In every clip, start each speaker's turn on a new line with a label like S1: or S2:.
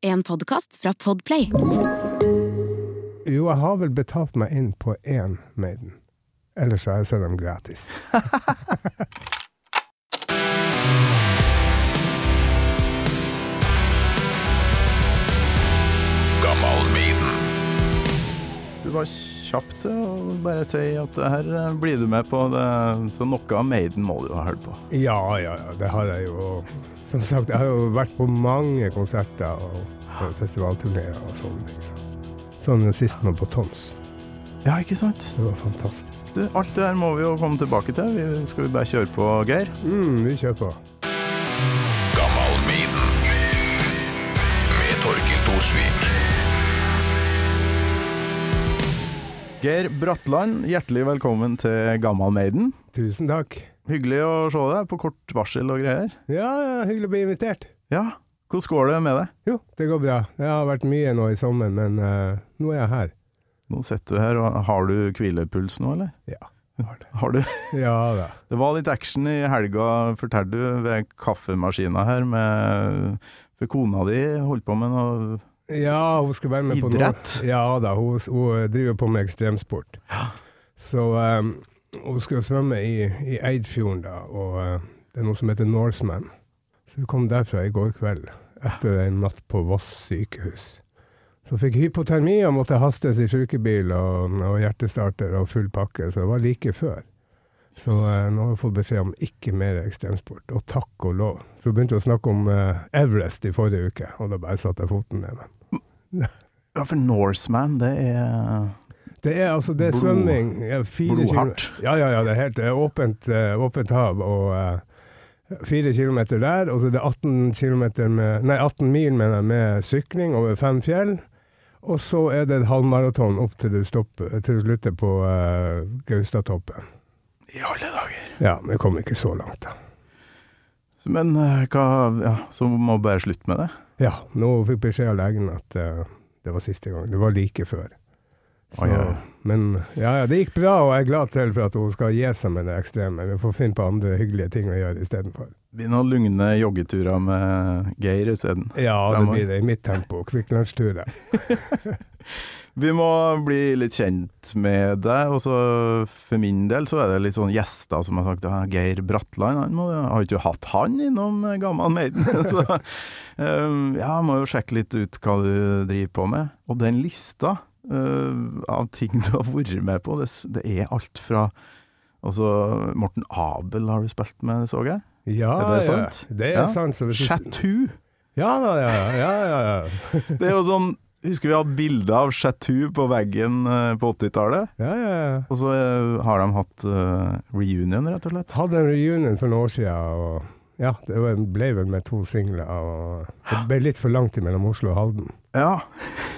S1: En podkast fra Podplay.
S2: Jo, jeg har vel betalt meg inn på én Maiden. Ellers har jeg sett dem gratis.
S3: Du var kjapp til å bare si at her eh, blir du med på det, så noe av Maiden må du ha hørt på.
S2: Ja, ja, ja, det har jeg jo. Som sagt, jeg har jo vært på mange konserter og og festivalturneer og sånne ting. Så. Sånn sist nå på Toms.
S3: Ja, ikke sant?
S2: Det var fantastisk.
S3: Du, alt det der må vi jo komme tilbake til. Vi skal vi bare kjøre på, Geir?
S2: Mm, vi kjører på.
S4: med Torkil Thorsvik.
S3: Geir Bratland, hjertelig velkommen til Gammal Maiden.
S2: Tusen takk.
S3: Hyggelig å se deg på kort varsel og greier.
S2: Ja, ja, hyggelig å bli invitert.
S3: Ja, hvordan går det med deg?
S2: Jo, det går bra. Det har vært mye nå i sommer, men eh, nå er jeg her.
S3: Nå sitter du her, og har du hvilepuls nå, eller?
S2: Ja, jeg har det.
S3: Har du?
S2: Ja da.
S3: Det var litt action i helga, fortalte du, ved kaffemaskina her med For kona di holdt på med noe
S2: Ja, hun skal være med på
S3: Idrett?
S2: noe. Ja da, hun, hun driver på med ekstremsport. Så um, hun skal jo svømme i, i Eidfjorden, da, og uh, det er noe som heter Norseman. Så hun kom derfra i går kveld, etter en natt på Voss sykehus. Så fikk hypotermi og måtte hastes i sykebil og, og hjertestarter og full pakke, så det var like før. Så uh, nå har hun fått beskjed om ikke mer ekstremsport, og takk og lov. For hun begynte å snakke om uh, Everest i forrige uke, og da bare satte jeg foten ned. Men
S3: Ja, for Norseman, det er
S2: Det er altså det er
S3: Blod-
S2: svømming ja, fire
S3: blodhardt.
S2: kilo- Ja, ja, ja. Det er helt det er åpent, eh, åpent hav. og eh, Fire kilometer der, og så er det 18, kilometer med, nei, 18 mil mener jeg, med sykling over fem fjell. Og så er det et halvmaraton opp til du, stopper, til du slutter på eh, Gaustatoppen.
S3: I alle dager.
S2: Ja, men jeg kom ikke så langt, da.
S3: Men eh, hva Ja, så må vi bare slutte med det.
S2: Ja, nå fikk beskjed av legen at eh, det var siste gang. Det var like før. Så,
S3: Oi, oi.
S2: Men ja, ja, det gikk bra, og jeg er glad til for at hun skal gi seg med det ekstreme. Vi får finne på andre hyggelige ting å gjøre istedenfor.
S3: Det blir noen lugne joggeturer med Geir isteden.
S2: Ja, det
S3: Fremover.
S2: blir det i mitt tempo. Kvikk Lunsj-turer.
S3: Vi må bli litt kjent med deg, og så for min del så er det litt sånn gjester som har sagt ja, Geir Bratland, han må, har ikke hatt han innom eh, Gammal Maiden? så um, ja, må jo sjekke litt ut hva du driver på med. Og den lista eh, av ting du har vært med på, det, s- det er alt fra Altså, Morten Abel har du spilt med, så jeg.
S2: Ja,
S3: Er det
S2: ja.
S3: sant?
S2: Det er
S3: Ja.
S2: sant. Så hvis du,
S3: Chatou!
S2: ja, da, ja, ja, ja, ja.
S3: Det er jo sånn Husker vi hadde bilde av Chatou på veggen eh, på 80-tallet?
S2: ja, ja, ja.
S3: Og så eh, har de hatt eh, reunion, rett og slett.
S2: Hadde en reunion for noen år siden, og ja, det var- ble vel med to singler. Og det ble litt for langt mellom Oslo og Halden.
S3: Ja.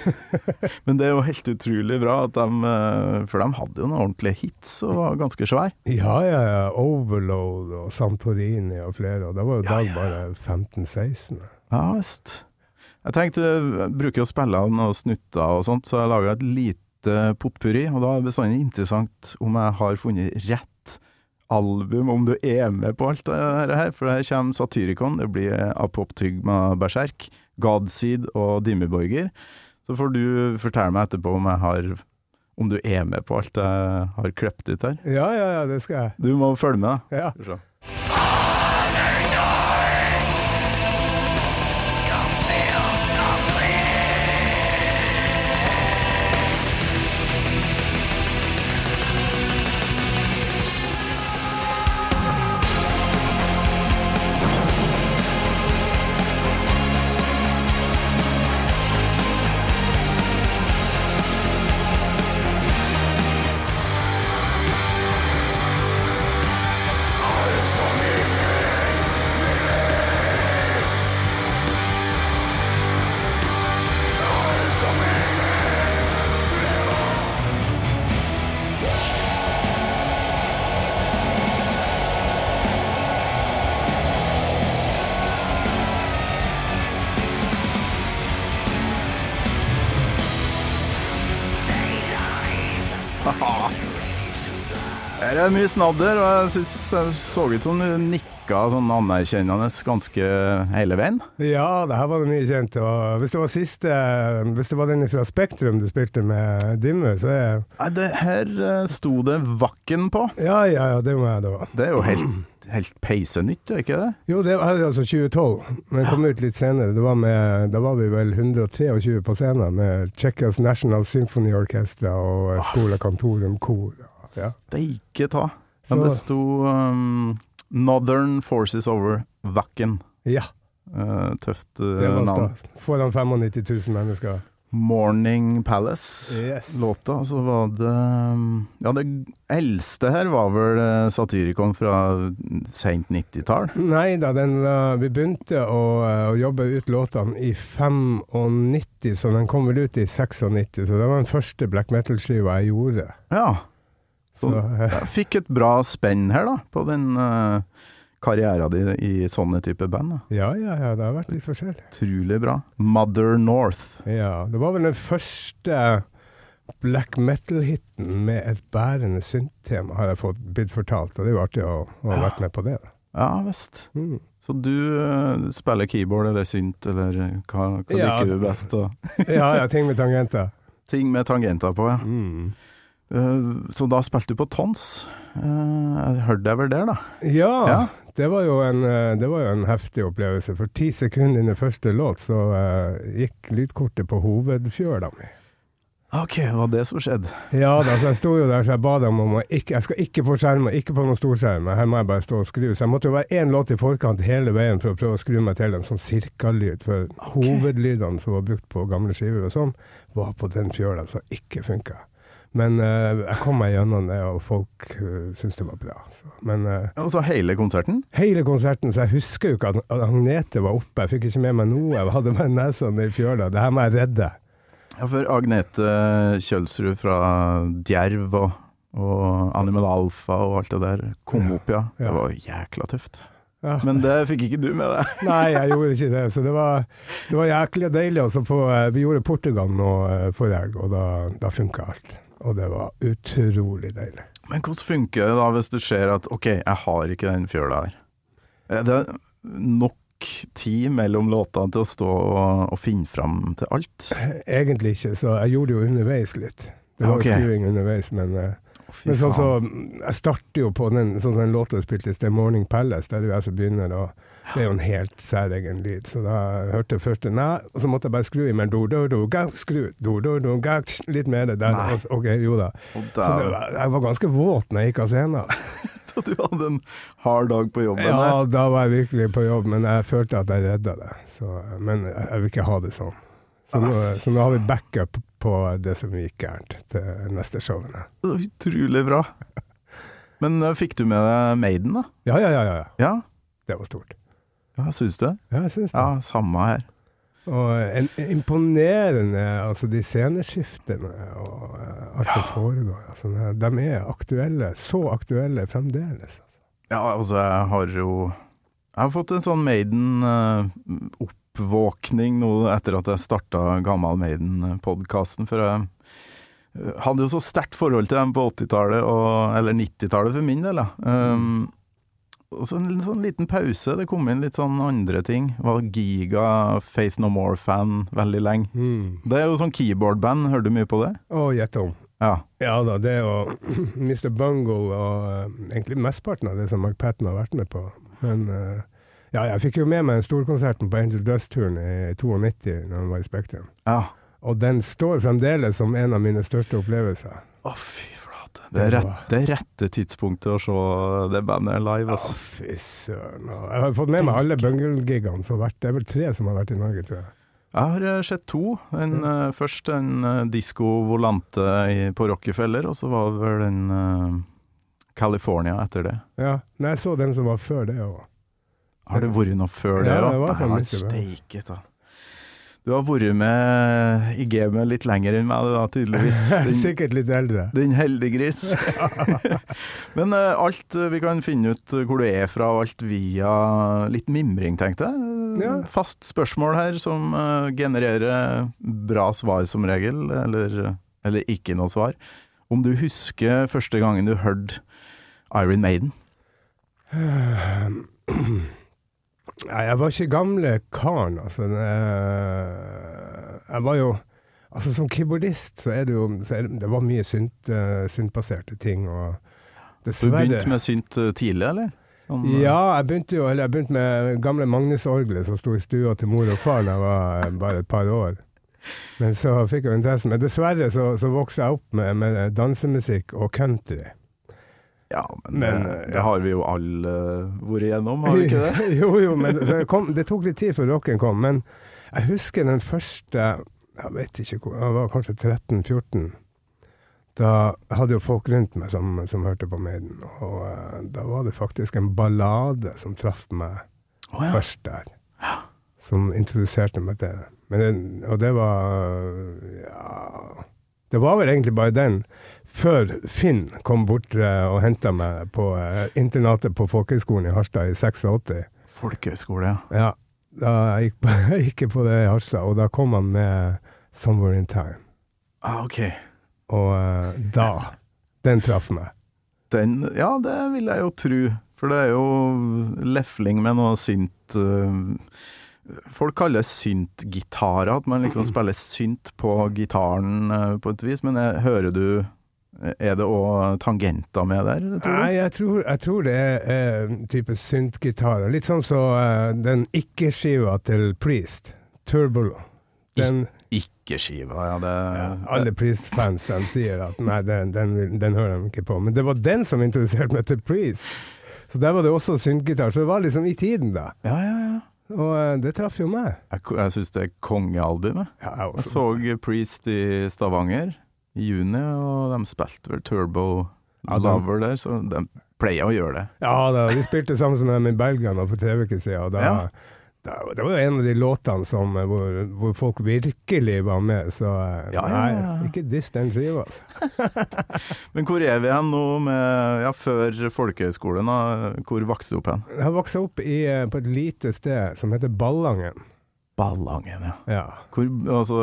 S3: Men det er jo helt utrolig bra at de eh, For de hadde jo noen ordentlige hits og var ganske svære.
S2: Ja, ja, ja. Overload og Santorini og flere. Og da var jo
S3: Ja,
S2: Dag
S3: ja.
S2: bare 15-16.
S3: Ja visst. Jeg tenkte jeg bruker å spille av noen snutter og sånt, så jeg laga et lite potpurri. Og da er det bestandig interessant om jeg har funnet rett album, om du er med på alt det her. For her kommer Satyricon, det blir Apoptygma Berserk, Godseed og Dimmeborger. Så får du fortelle meg etterpå om jeg har om du er med på alt jeg har klept ut her.
S2: Ja, ja, ja, det skal jeg.
S3: Du må følge med, da.
S2: Ja.
S3: Skal vi se. Her er mye snadder, og jeg syns jeg så ut som du nikket virka sånn anerkjennende ganske hele veien.
S2: Ja, det her var det mye kjent. Og hvis det var siste Hvis det var den fra Spektrum du spilte med Dimmu, så er
S3: Nei, det her eh, sto det Vakken på.
S2: Ja, ja, ja, det må jeg da.
S3: Det er jo helt, helt peisenytt, er ikke det?
S2: Jo, det var altså 2012, men kom ut litt senere. Det var med, da var vi vel 123 på scenen med Tsjekkias National Symphony Orchestra og eh, Skola Cantorum Kor. Altså, Ja.
S3: Steike ta.
S2: Så-
S3: Men det sto um, Northern Forces Over Vakken.
S2: ja,
S3: Eh, tøft eh,
S2: det var
S3: navn.
S2: stas. Foran 95 000 mennesker.
S3: Morning Palace.
S2: Yes.
S3: Låta, så var det um, Ja, det eldste her var vel eh, Satyricon fra sent 90-tall.
S2: Nei da, den, eh, vi begynte å, eh, å jobbe ut låtene i 95, så den kom vel ut i 96. Så det var den første black metal-skiva jeg gjorde.
S3: Ja.
S2: Så,
S3: Sånn.
S2: eh,
S3: Jeg fikk et bra spenn her, da, på den eh, karriera di i sånne type band. da.
S2: ja, ja, ja, det har vært litt forskjellig.
S3: Utrolig bra. Mother North.
S2: Ja, det var vel den første black metal-hiten med et bærende synt-tema, har jeg fått blitt fortalt. Og det er jo artig å, å ha vært med på det. da.
S3: Ja visst.
S2: Mm.
S3: Så du eh, spiller keyboard eller synt, eller eh, hva, hva
S2: Ja.
S3: liker du best? da?
S2: Ja, ja, ting med tangenter.
S3: Ting med tangenter på, ja.
S2: Mm.
S3: Eh, så da spilte du på tons. Eh, jeg hørte deg vel der, da.
S2: Ja,
S3: Ja.
S2: Det, var jo en, eh, det var jo en heftig opplevelse. For ti sekunder inn i første låt så eh, gikk lydkortet på hovedfjøla mi.
S3: Ok, det var det som skjedde.
S2: Ja da, så jeg sto jo der så jeg ba dem om å ikke Jeg skal ikke på skjerm, og ikke på noen storskjerm. Her må jeg bare stå og skru. Så jeg måtte jo være én låt i forkant hele veien for å prøve å skru meg til en sånn cirkalyd. For hovedlydene som var brukt på gamle skiver og sånn, var på den fjøla som ikke funka. Men eh, jeg kom meg gjennom det, og folk uh, syntes det var bra. Så. Men eh,
S3: Og så hele konserten?
S2: hele konserten, så jeg husker jo ikke at at Agnete var oppe. Jeg fikk ikke med meg noe. Jeg hadde bare nesa ned i fjøla. Det her må jeg redde.
S3: Ja, for Agnete Kjølsrud fra Djerv og, og Animal Alfa og alt det der kom opp, ja.
S2: ja.
S3: Det var jækla tøft.
S2: Ja.
S3: Men det fikk ikke du med deg.
S2: Nei, jeg gjorde ikke det. Så det var, det var jæklig deilig. Også på, eh, vi gjorde Portugal nå eh, forrige helg, og da, da funka alt. Og det var utrolig deilig.
S3: Men hvordan funker det da hvis du ser at OK, jeg har ikke den fjøla her. Er det nok tid mellom låtene til å stå og, og finne fram til alt?
S2: Egentlig ikke, så jeg gjorde det jo underveis litt. Det var
S3: Ok.
S2: jo skriving underveis, men, eh,
S3: Å, fy
S2: men sånn så,
S3: faen.
S2: jeg starter jo på den, sånn som den låta jeg spilte i sted, 'Morning Palace', der er jo jeg som begynner. og det er jo en helt særegen lyd, så da hørte jeg først Nei, og så måtte jeg bare skru i meg do, do, do, ga, skru, do, do, do, ga, litt mer der.
S3: Nei.
S2: og så- Ok, jo da.
S3: Og
S2: Så det
S3: dæven,
S2: var, jeg var ganske våt når jeg gikk av scenen. altså.
S3: så du hadde en hard dag på jobben der.
S2: Ja, da var jeg virkelig på jobb, men jeg følte at jeg redda det. Så, men jeg jeg vil ikke ha det sånn. Så nå, så nå har vi backup på det som gikk gærent til neste showene.
S3: Det var Utrolig bra. Men eh, fikk du med deg Maiden, da?
S2: Ja, ja, ja, ja. ja.
S3: Ja,
S2: Det var stort.
S3: ja syns du det?
S2: Ja, jeg syns det.
S3: Ja, samme her.
S2: Og en imponerende Altså, de sceneskiftene og eh, alt som foregår. Altså, de er aktuelle. Så aktuelle fremdeles. Altså.
S3: Ja, altså, jeg har jo Jeg har fått en sånn Maiden-oppvåkning nå etter at jeg starta Gammal Maiden-podkasten, for jeg eh, hadde jo så sterkt forhold til dem på 80-tallet, og- eller 90-tallet for min del, da. Um, og så en sånn liten pause. Det kom inn litt sånn andre ting. Jeg Var giga Faith No More-fan veldig lenge.
S2: Mm.
S3: Det er jo sånn keyboardband, hører du mye på det?
S2: Og gjett om.
S3: Ja.
S2: Ja da, det og Mr. Bungle og eh, egentlig mesteparten av det som Mark Patton har vært med på. Men eh, ja, jeg fikk jo med meg storkonserten på Angel Dust-turen i 92 når han var i Spektrum.
S3: ja.
S2: Og den står fremdeles som en av mine største opplevelser.
S3: Å, fy flate. Det er, rett, det er rette tidspunktet å se det bandet live,
S2: Å,
S3: altså.
S2: fy søren. og Jeg har fått med meg alle Bungle-gigene som har vært. Det er vel tre som har vært i Norge, tror jeg.
S3: Jeg har eh, sett to. En, eh, først en uh, Disco Volante i, på Rockefeller, og så var det vel en eh, California etter det.
S2: Ja, Nei, jeg så den som var før det òg.
S3: Har det vært noe før det?
S2: Ja, det
S3: da?
S2: var
S3: Nei,
S2: faktisk det.
S3: steike ta. Du har vært med i gamet litt lenger enn meg, du da, tydeligvis. Den,
S2: Sikkert litt eldre.
S3: den heldiggris. Men eh, alt eh, vi kan finne ut eh, hvor du er fra, og alt via litt mimring, tenkte jeg. Eh,
S2: Ja.
S3: Fast spørsmål her som eh, genererer bra svar som regel, eller, eller ikke noe svar. Om du husker første gangen du hørte Iron Maiden?
S2: Eh, Nei, jeg var ikke gamle karen, altså. Den, eh, Jeg var jo Altså, som keyboardist så er det jo så er det, det var mye synt, eh, syntbaserte ting, og
S3: Du begynte med synt eh, tidlig, eller? Sånn, eh,
S2: Ja, jeg begynte jo Eller jeg begynte med gamle Magnus-orgelet som sto i stua til mor og far da jeg var eh, bare et par år. Men så fikk jeg jo interessen. Men dessverre så, så vokste jeg opp med, med dansemusikk og country.
S3: ja
S2: Men,
S3: men, det,
S2: eh,
S3: det har vi jo alle eh, vært igjennom, har vi ikke det?
S2: jo, jo, men det, så det kom, det tok litt tid før rocken kom. Men jeg husker den første Jeg vet ikke hvor, jeg var kanskje 13-14. Da hadde jo folk rundt meg som, som hørte på Maiden, og eh, da var det faktisk en ballade som traff meg
S3: Å ja.
S2: først der. Som introduserte meg til det. Men den, og det var Ja. Det var vel egentlig bare den. Før Finn kom bort eh, og henta meg på eh, internatet på Folkehøgskolen i Harstad i 86.
S3: Folkehøyskole, ja.
S2: Ja, da jeg gikk på, jeg gikk på det i Harstad, og da kom han med 'Somewhere in Time'.
S3: Ah, ok.
S2: Og eh, da Den traff meg.
S3: Den, ja, det vil jeg jo tro. For det er jo lefling med noe synt eh, Folk kaller det syntgitarer, at man liksom spiller synt på gitaren eh, på et vis. Men eh, hører du Er det òg tangenter med der, tror du?
S2: Nei, jeg tror, jeg tror det er eh, type syntgitarer. Litt sånn som eh, den ikke-skiva til Priest, Turbolo. Den,
S3: Ikke skiva, ja. Det,
S2: ja, alle Priest-fans de sier at nei, den, den, vil- den hører de ikke på. Men det var den som introduserte meg til Priest. Så der var det også syntgitar. Så det var liksom i tiden, da.
S3: ja, ja, ja.
S2: Og eh, det traff jo meg.
S3: Jeg, ko- jeg syns det er kongealbumet.
S2: Ja, jeg
S3: Jeg
S2: også.
S3: så Priest i Stavanger i juni, og de spilte vel Turbo
S2: Ja, de-
S3: Lover der, så de pleier å gjøre det.
S2: Ja da, vi spilte sammen med dem i Belgia nå for tre uker siden. Og da,
S3: Ja.
S2: da, det var jo en av de låtene som, eh, hvor, hvor folk virkelig var med, så eh,
S3: Ja, ja, ja, ja.
S2: nei, ikke diss den skiva, altså.
S3: Men hvor er vi hen nå med Ja, før folkehøyskolen, da. Hvor vokste du opp hen?
S2: Jeg vokste opp i, eh, på et lite sted som heter Ballangen.
S3: Ballangen, ja.
S2: Ja.
S3: Hvor, altså,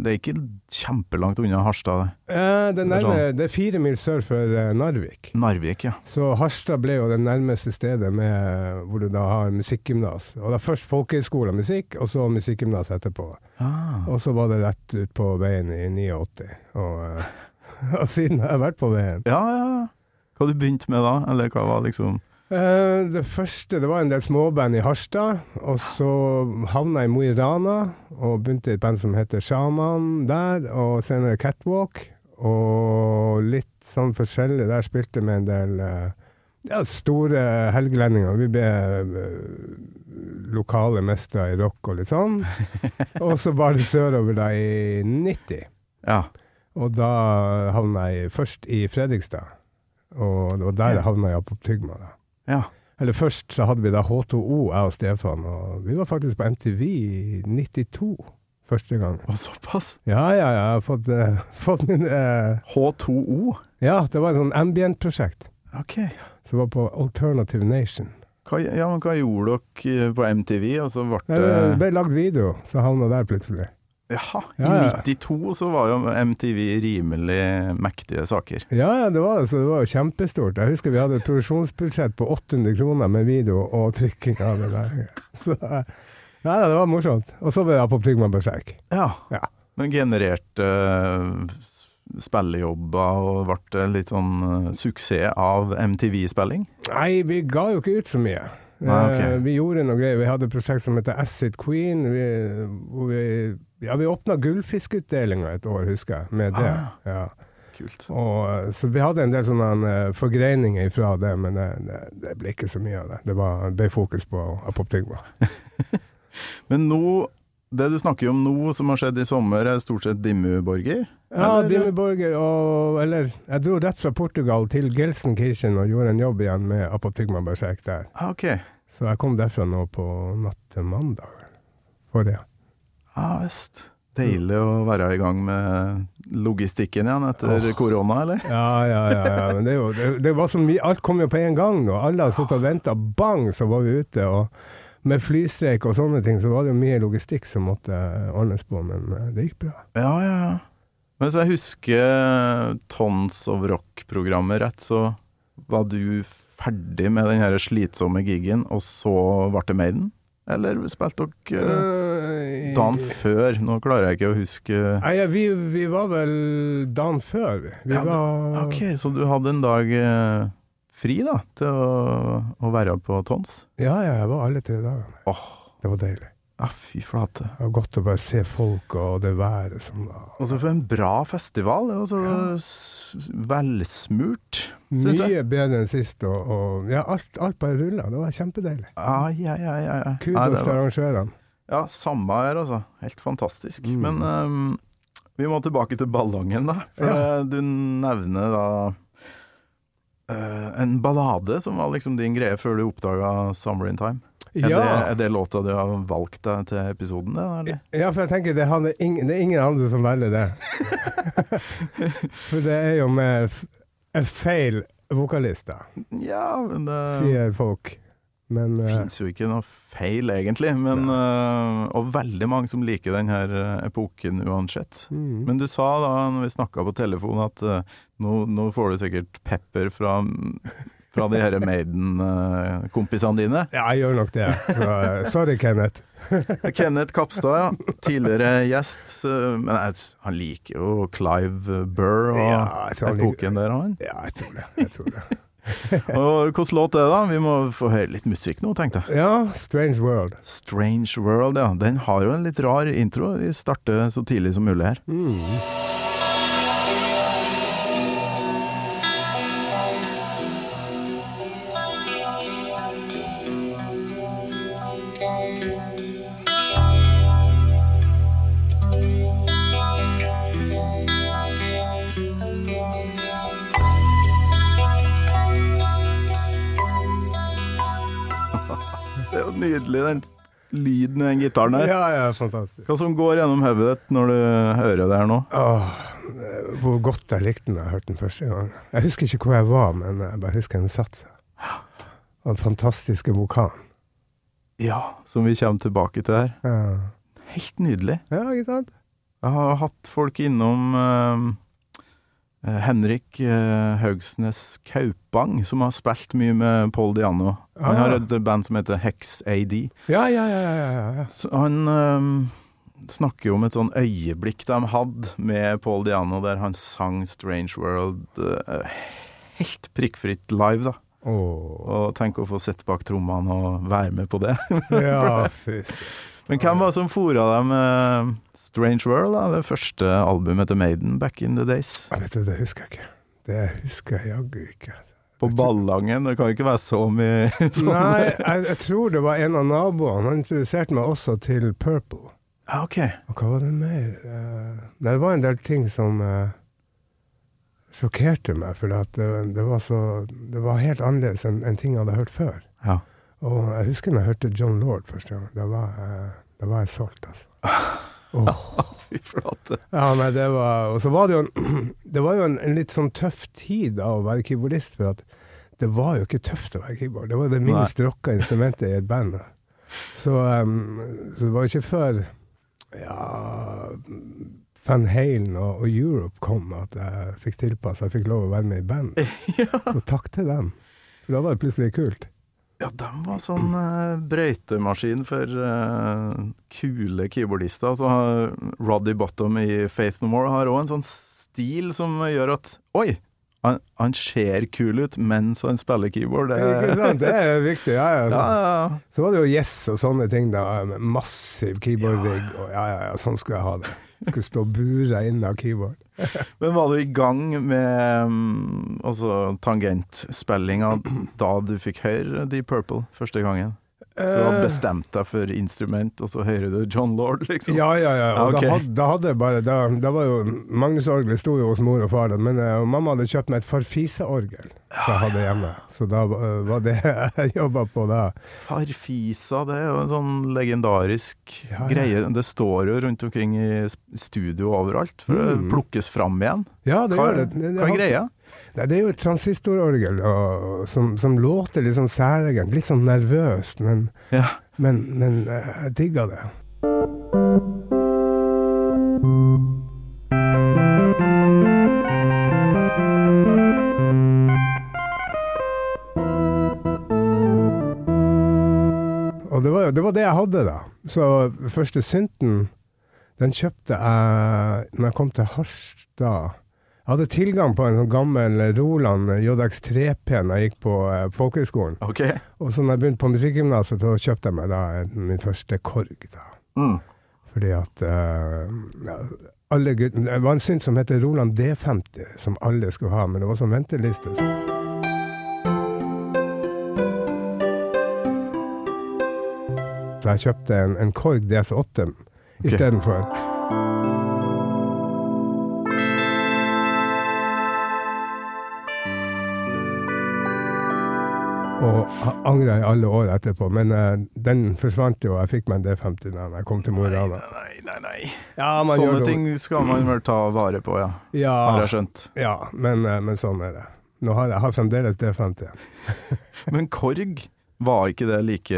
S3: det er ikke kjempelangt unna Harstad.
S2: Eh, Det, er
S3: sånn.
S2: nærmere, det er fire mil sør for eh, Narvik.
S3: det. Narvik, ja.
S2: Så Harstad ble jo det nærmeste stedet med, hvor du da har musikkgymnas. Og da Først folkehøyskole og musikk, og så musikkgymnas etterpå.
S3: Ah.
S2: Og så var det rett ut på veien i 89, og, eh, og siden har jeg vært på veien.
S3: Ja, ja. ja. Hva du begynte med da? Eller hva var liksom
S2: Eh, Det første, det var en del småband i Harstad, og så havna jeg i Mo i Rana, og begynte i et band som heter Sjaman der, og senere Catwalk, og litt sånn forskjellig. Der spilte vi en del eh, ja, store helgelendinger. Vi ble eh, lokale mestere i rock og litt sånn. Og så bar det sørover da i 90.
S3: Ja.
S2: Og da havna jeg først i Fredrikstad, og det var der jeg havna i Jakob Tygma. da.
S3: ja.
S2: Eller først så hadde vi da H2O, jeg og Stefan, og vi var faktisk på MTV i 92 første gang.
S3: Og såpass.
S2: Ja, ja, ja, jeg har fått, eh, fått min eh,
S3: H2O.
S2: Ja, det var et sånn ambient-prosjekt
S3: Ok.
S2: som var på Alternative Nation.
S3: Hva, ja, men hva gjorde dere på MTV? Og så Altså, ble
S2: Nei, Det
S3: det
S2: ble lagd video, så havna der plutselig.
S3: Jaha. I
S2: Ja, ja.
S3: 92 så var jo MTV rimelig mektige saker.
S2: Ja, ja, det var det, så det var jo kjempestort. Jeg husker vi hadde et produksjonsbudsjett på 800 kroner med video og trykking av det der. Så, eh, nei, nei, det var morsomt. Og så ble det Apoptygma Berserk.
S3: Ja.
S2: Ja.
S3: Men genererte eh, spillejobber og ble det litt sånn eh, suksess av MTV-spilling?
S2: Nei, vi ga jo ikke ut så mye.
S3: Nei, ok.
S2: Eh, Vi gjorde noe greier. Vi hadde et prosjekt som heter Acid Queen. Vi, hvor vi, ja, vi åpna gullfiskutdelinga et år, husker jeg, med det.
S3: Ah.
S2: Ja.
S3: Kult.
S2: Og, eh, så vi hadde en del sånne eh, forgreininger fra det, men det, det, det ble ikke så mye av det. Det var, det ble fokus på Apoptygma.
S3: Men nå, det du snakker om nå som har skjedd i sommer, er stort sett Dimmu-borger?
S2: Ja,
S3: Eller-
S2: Dimmy Borger og Eller, jeg dro rett fra Portugal til Gelsenkirchen og gjorde en jobb igjen med Apoptygma Berserk der.
S3: Ah, ok.
S2: Så jeg kom derfra nå på natt til mandag forrige.
S3: Ja Ah, visst. Deilig å være i gang med logistikken igjen etter korona, eller?
S2: Ja, ja, ja. ja. Men det, er jo, det, det var så mye. Alt kom jo på en gang, og alle har sittet og venta. Bang, så var vi ute. Og med flystreik og sånne ting, så var det jo mye logistikk som måtte ordnes på, men eh, det gikk bra.
S3: Ja, ja, ja. Men eh, så jeg husker Tons of Rock-programmet rett, så var du ferdig med den her slitsomme gigen, og så ble det Maiden? Eller spilte dere eh,
S2: Eh,
S3: dagen før? Nå klarer jeg ikke å huske
S2: Nei, ja, vi, vi var vel dagen før. vi. Vi
S3: Ja, men-
S2: var
S3: Ok, så du hadde en dag eh, fri, da, til å, å være på Tons?
S2: Ja, ja, jeg var alle tre dagene.
S3: Åh,
S2: Det var deilig.
S3: ja, Ah, fy flate.
S2: Det var godt å bare se folk og det været som var
S3: Og så for en bra festival. Det var så s- velsmurt, syns jeg.
S2: Mye bedre enn sist, og, og ja, alt, alt bare rulla. Det var kjempedeilig.
S3: Ai, ai, ai, ai. ai. Nei,
S2: Kudos
S3: det
S2: til
S3: var-
S2: arrangørene.
S3: Ja, samme her, altså. Helt fantastisk.
S2: Mm.
S3: Men ehm, vi må tilbake til ballongen, da. For
S2: Ja.
S3: eh, du nevner da eh, en ballade som var liksom din greie før du oppdaga 'Summer in Time'. Er,
S2: Ja, Eh,
S3: det, er det låta du har valgt deg til episoden? det, Eller?
S2: ja, for jeg tenker det, hadde ingen, det er ingen andre som velger det. for det er jo med f- en feil vokalister,
S3: Ja, men det
S2: sier folk. Men eh,
S3: fins jo ikke noe feil, egentlig. Men, eh, og veldig mange som liker den her eh, epoken uansett.
S2: mm.
S3: Men du sa da når vi snakka på telefon at eh, nå, nå får du sikkert pepper fra, fra de her Maiden-kompisene dine.
S2: Ja, jeg gjør nok det. Så, eh, sorry, Kenneth.
S3: Kenneth Kapstad, ja. Tidligere gjest. eh, Men jeg, han liker jo Clive Burr og
S2: Ja, jeg tror han liker-
S3: epoken der, han.
S2: Ja, jeg tror det. Jeg tror det.
S3: Og hvilken låt er det, da? Vi må få høre litt musikk nå, tenkte jeg.
S2: Ja, Strange World.
S3: Strange World, ja. Den har jo en litt rar intro. Vi starter så tidlig som mulig
S2: Mm.
S3: her. Det er jo nydelig, den lyden i den gitaren her.
S2: Ja, ja, fantastisk.
S3: Hva som går gjennom hodet ditt når du hører det her nå?
S2: Åh, hvor godt jeg likte den da jeg hørte den første gang. Jeg husker ikke hvor jeg var, men jeg bare husker den satt seg. Og den fantastiske vokalen.
S3: Ja, som vi kommer tilbake til her.
S2: Ja.
S3: Helt nydelig.
S2: ja, ikke sant?
S3: Jeg har hatt folk innom eh, Henrik eh, Haugsnes Kaupang, som har spilt mye med Paul Diano. Han
S2: Ah.
S3: har et band som heter Hex AD.
S2: Ja, ja, ja. ja, ja, ja.
S3: Så han øhm, snakker jo om et sånn øyeblikk de hadde med Paul Diano, der han sang 'Strange World' øh, helt prikkfritt live, da.
S2: Åh.
S3: Og tenk å få sitte bak trommene og være med på det.
S2: Ja, fy søren.
S3: Men hvem var det som fora deg med 'Strange World', da? Det første albumet til Maiden back in the days.
S2: Ja, Vet du, det husker jeg ikke. Det husker jeg jaggu ikke. altså.
S3: På Ballangen, det kan jo ikke være så mye sånn.
S2: Nei, jeg, jeg tror det var en av naboene. Han introduserte meg også til Purple.
S3: Ja, ok.
S2: Og hva var det mer? Eh, nei, det var en del ting som eh, sjokkerte meg, for at det, det, var så, det var helt annerledes enn enn ting jeg hadde hørt før.
S3: Ja.
S2: Og jeg husker når jeg hørte John Lord første gang. Da var, jeg- da var jeg solgt, altså. Åh.
S3: Fy flate.
S2: Ja, nei, det var, og så var det jo, en, det var jo en, en litt sånn tøff tid da å være keyboardist, for at det var jo ikke tøft å være keyboard. Det var det
S3: Nei.
S2: minst rocka instrumentet i et band. da. Så, um, så det var ikke før ja, Van Halen og, og Europe kom at jeg fikk tilpassa, jeg fikk lov å være med i band. Så takk til dem. For da var det plutselig kult.
S3: Ja, de var sånn eh, brøytemaskin for eh, kule keyboardister. Så har Roddy Bottom i Faith No More har òg en sånn stil som gjør at Oi! Han, han ser kul ut mens han spiller keyboard.
S2: Ikke sant? Det er viktig. Ja, ja.
S3: ja,
S2: Så,
S3: ja,
S2: så var det jo Yes og sånne ting, da. med Massiv keyboard-rigg. Og ja, ja, ja, sånn skulle jeg ha det. Skulle stå bura inne av keyboard.
S3: ja. Men var du i gang med mm, altså, tangentspillinga da du fikk høre Deep Purple første gangen? Så du hadde
S2: Eh,
S3: bestemt deg for instrument, og så hører du John Lord, liksom?
S2: Ja, ja, ja. Og
S3: Ja, ok.
S2: da, hadde, da hadde jeg bare da, da var jo Magnus Orgelet sto jo hos mor og far, da, men eh, og mamma hadde kjøpt meg et Farfise-orgel som jeg hadde hjemme. Så da eh, var det jeg jobba på da.
S3: Farfisa, det er jo en sånn legendarisk
S2: Ja, ja.
S3: greie. Det står jo rundt omkring i s- studio overalt, for det
S2: Mm.
S3: plukkes fram igjen.
S2: Ja, det
S3: Hva,
S2: gjør det. det, det
S3: hva er
S2: hadde-
S3: greia?
S2: Nei, det er jo et transistororgel og, som, som låter litt sånn særegent, litt sånn nervøst, men,
S3: Ja.
S2: men, men eh, jeg digga det. var det jeg hadde, da. Så første synten, den kjøpte jeg når jeg kom til Harstad. Jeg hadde tilgang på en sånn gammel Roland JX3P når jeg gikk på eh, folkehøgskolen.
S3: Ok.
S2: Og så når jeg begynte på musikkgymnaset, så kjøpte jeg meg da en- min første korg. da.
S3: Mm.
S2: Fordi at eh, ja, alle guttene Det var en synt som heter Roland D50, som alle skulle ha, men det var sånn venteliste. Så jeg kjøpte en, en Korg DS8 istedenfor. Og ha- angra i alle år etterpå, men eh, den forsvant jo. Jeg fikk meg en D50 da jeg kom til Mo i
S3: Nei,
S2: Rana.
S3: nei, nei. nei.
S2: Ja, man gjør Ah.
S3: Sånne
S2: det.
S3: ting skal man vel ta vare på, ja. Har
S2: Ja,
S3: jeg skjønt.
S2: ja men, eh, men sånn er det. Nå har jeg, jeg har fremdeles D50. igjen.
S3: Men korg, var ikke det like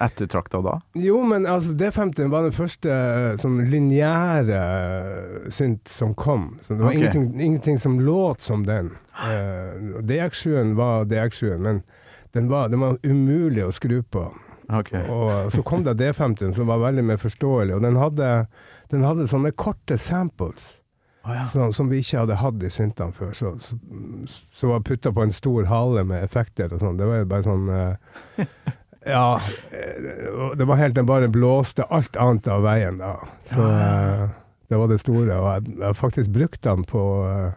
S3: ettertrakta da?
S2: Jo, men altså, D50 var den første eh, sånn lineære eh, synt som kom. Så det var
S3: Ok.
S2: ingenting, ingenting som låt som den. Eh, DX7-en var DX7-en, men den var, den var umulig å skru på.
S3: Ok.
S2: Og så kom da D50-en, som var veldig mer forståelig, og den hadde, den hadde sånne korte samples.
S3: Å, ja.
S2: som, som vi ikke hadde hatt i syntene før. Så, så, så var putta på en stor hale med effekter og sånn. Det var jo bare sånn eh, Ja. eh, og Det var helt den bare blåste alt annet av veien da. Så eh, det var det store. Og jeg, jeg har faktisk brukt den på eh,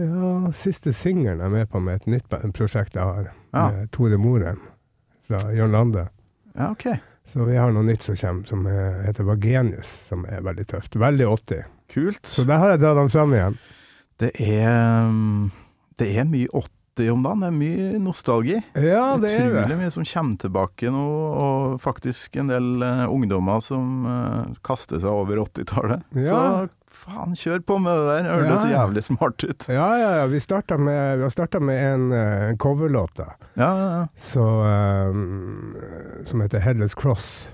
S2: ja, siste singelen jeg er med på med et nytt ba- prosjekt jeg har,
S3: Ja.
S2: med Tore Moren fra Jørn Lande.
S3: ja, ok.
S2: Så vi har noe nytt som kommer, som eh, heter Vagenius, som er veldig tøft. Veldig 80.
S3: Kult.
S2: Så der har jeg dratt den fram igjen.
S3: Det er, um, det er mye 80 om dagen. Det er mye nostalgi.
S2: Ja, det er
S3: Utrolig
S2: det.
S3: mye som kommer tilbake nå, og faktisk en del eh, ungdommer som eh, kaster seg over 80-tallet.
S2: Ja.
S3: Så faen, kjør på med det der! Høres så
S2: Ja.
S3: jævlig smart ut.
S2: Ja, ja, ja. Vi starta med, vi har startet med en, eh, en coverlåt da,
S3: Ja, ja, ja.
S2: så, eh, som heter 'Headless Cross'.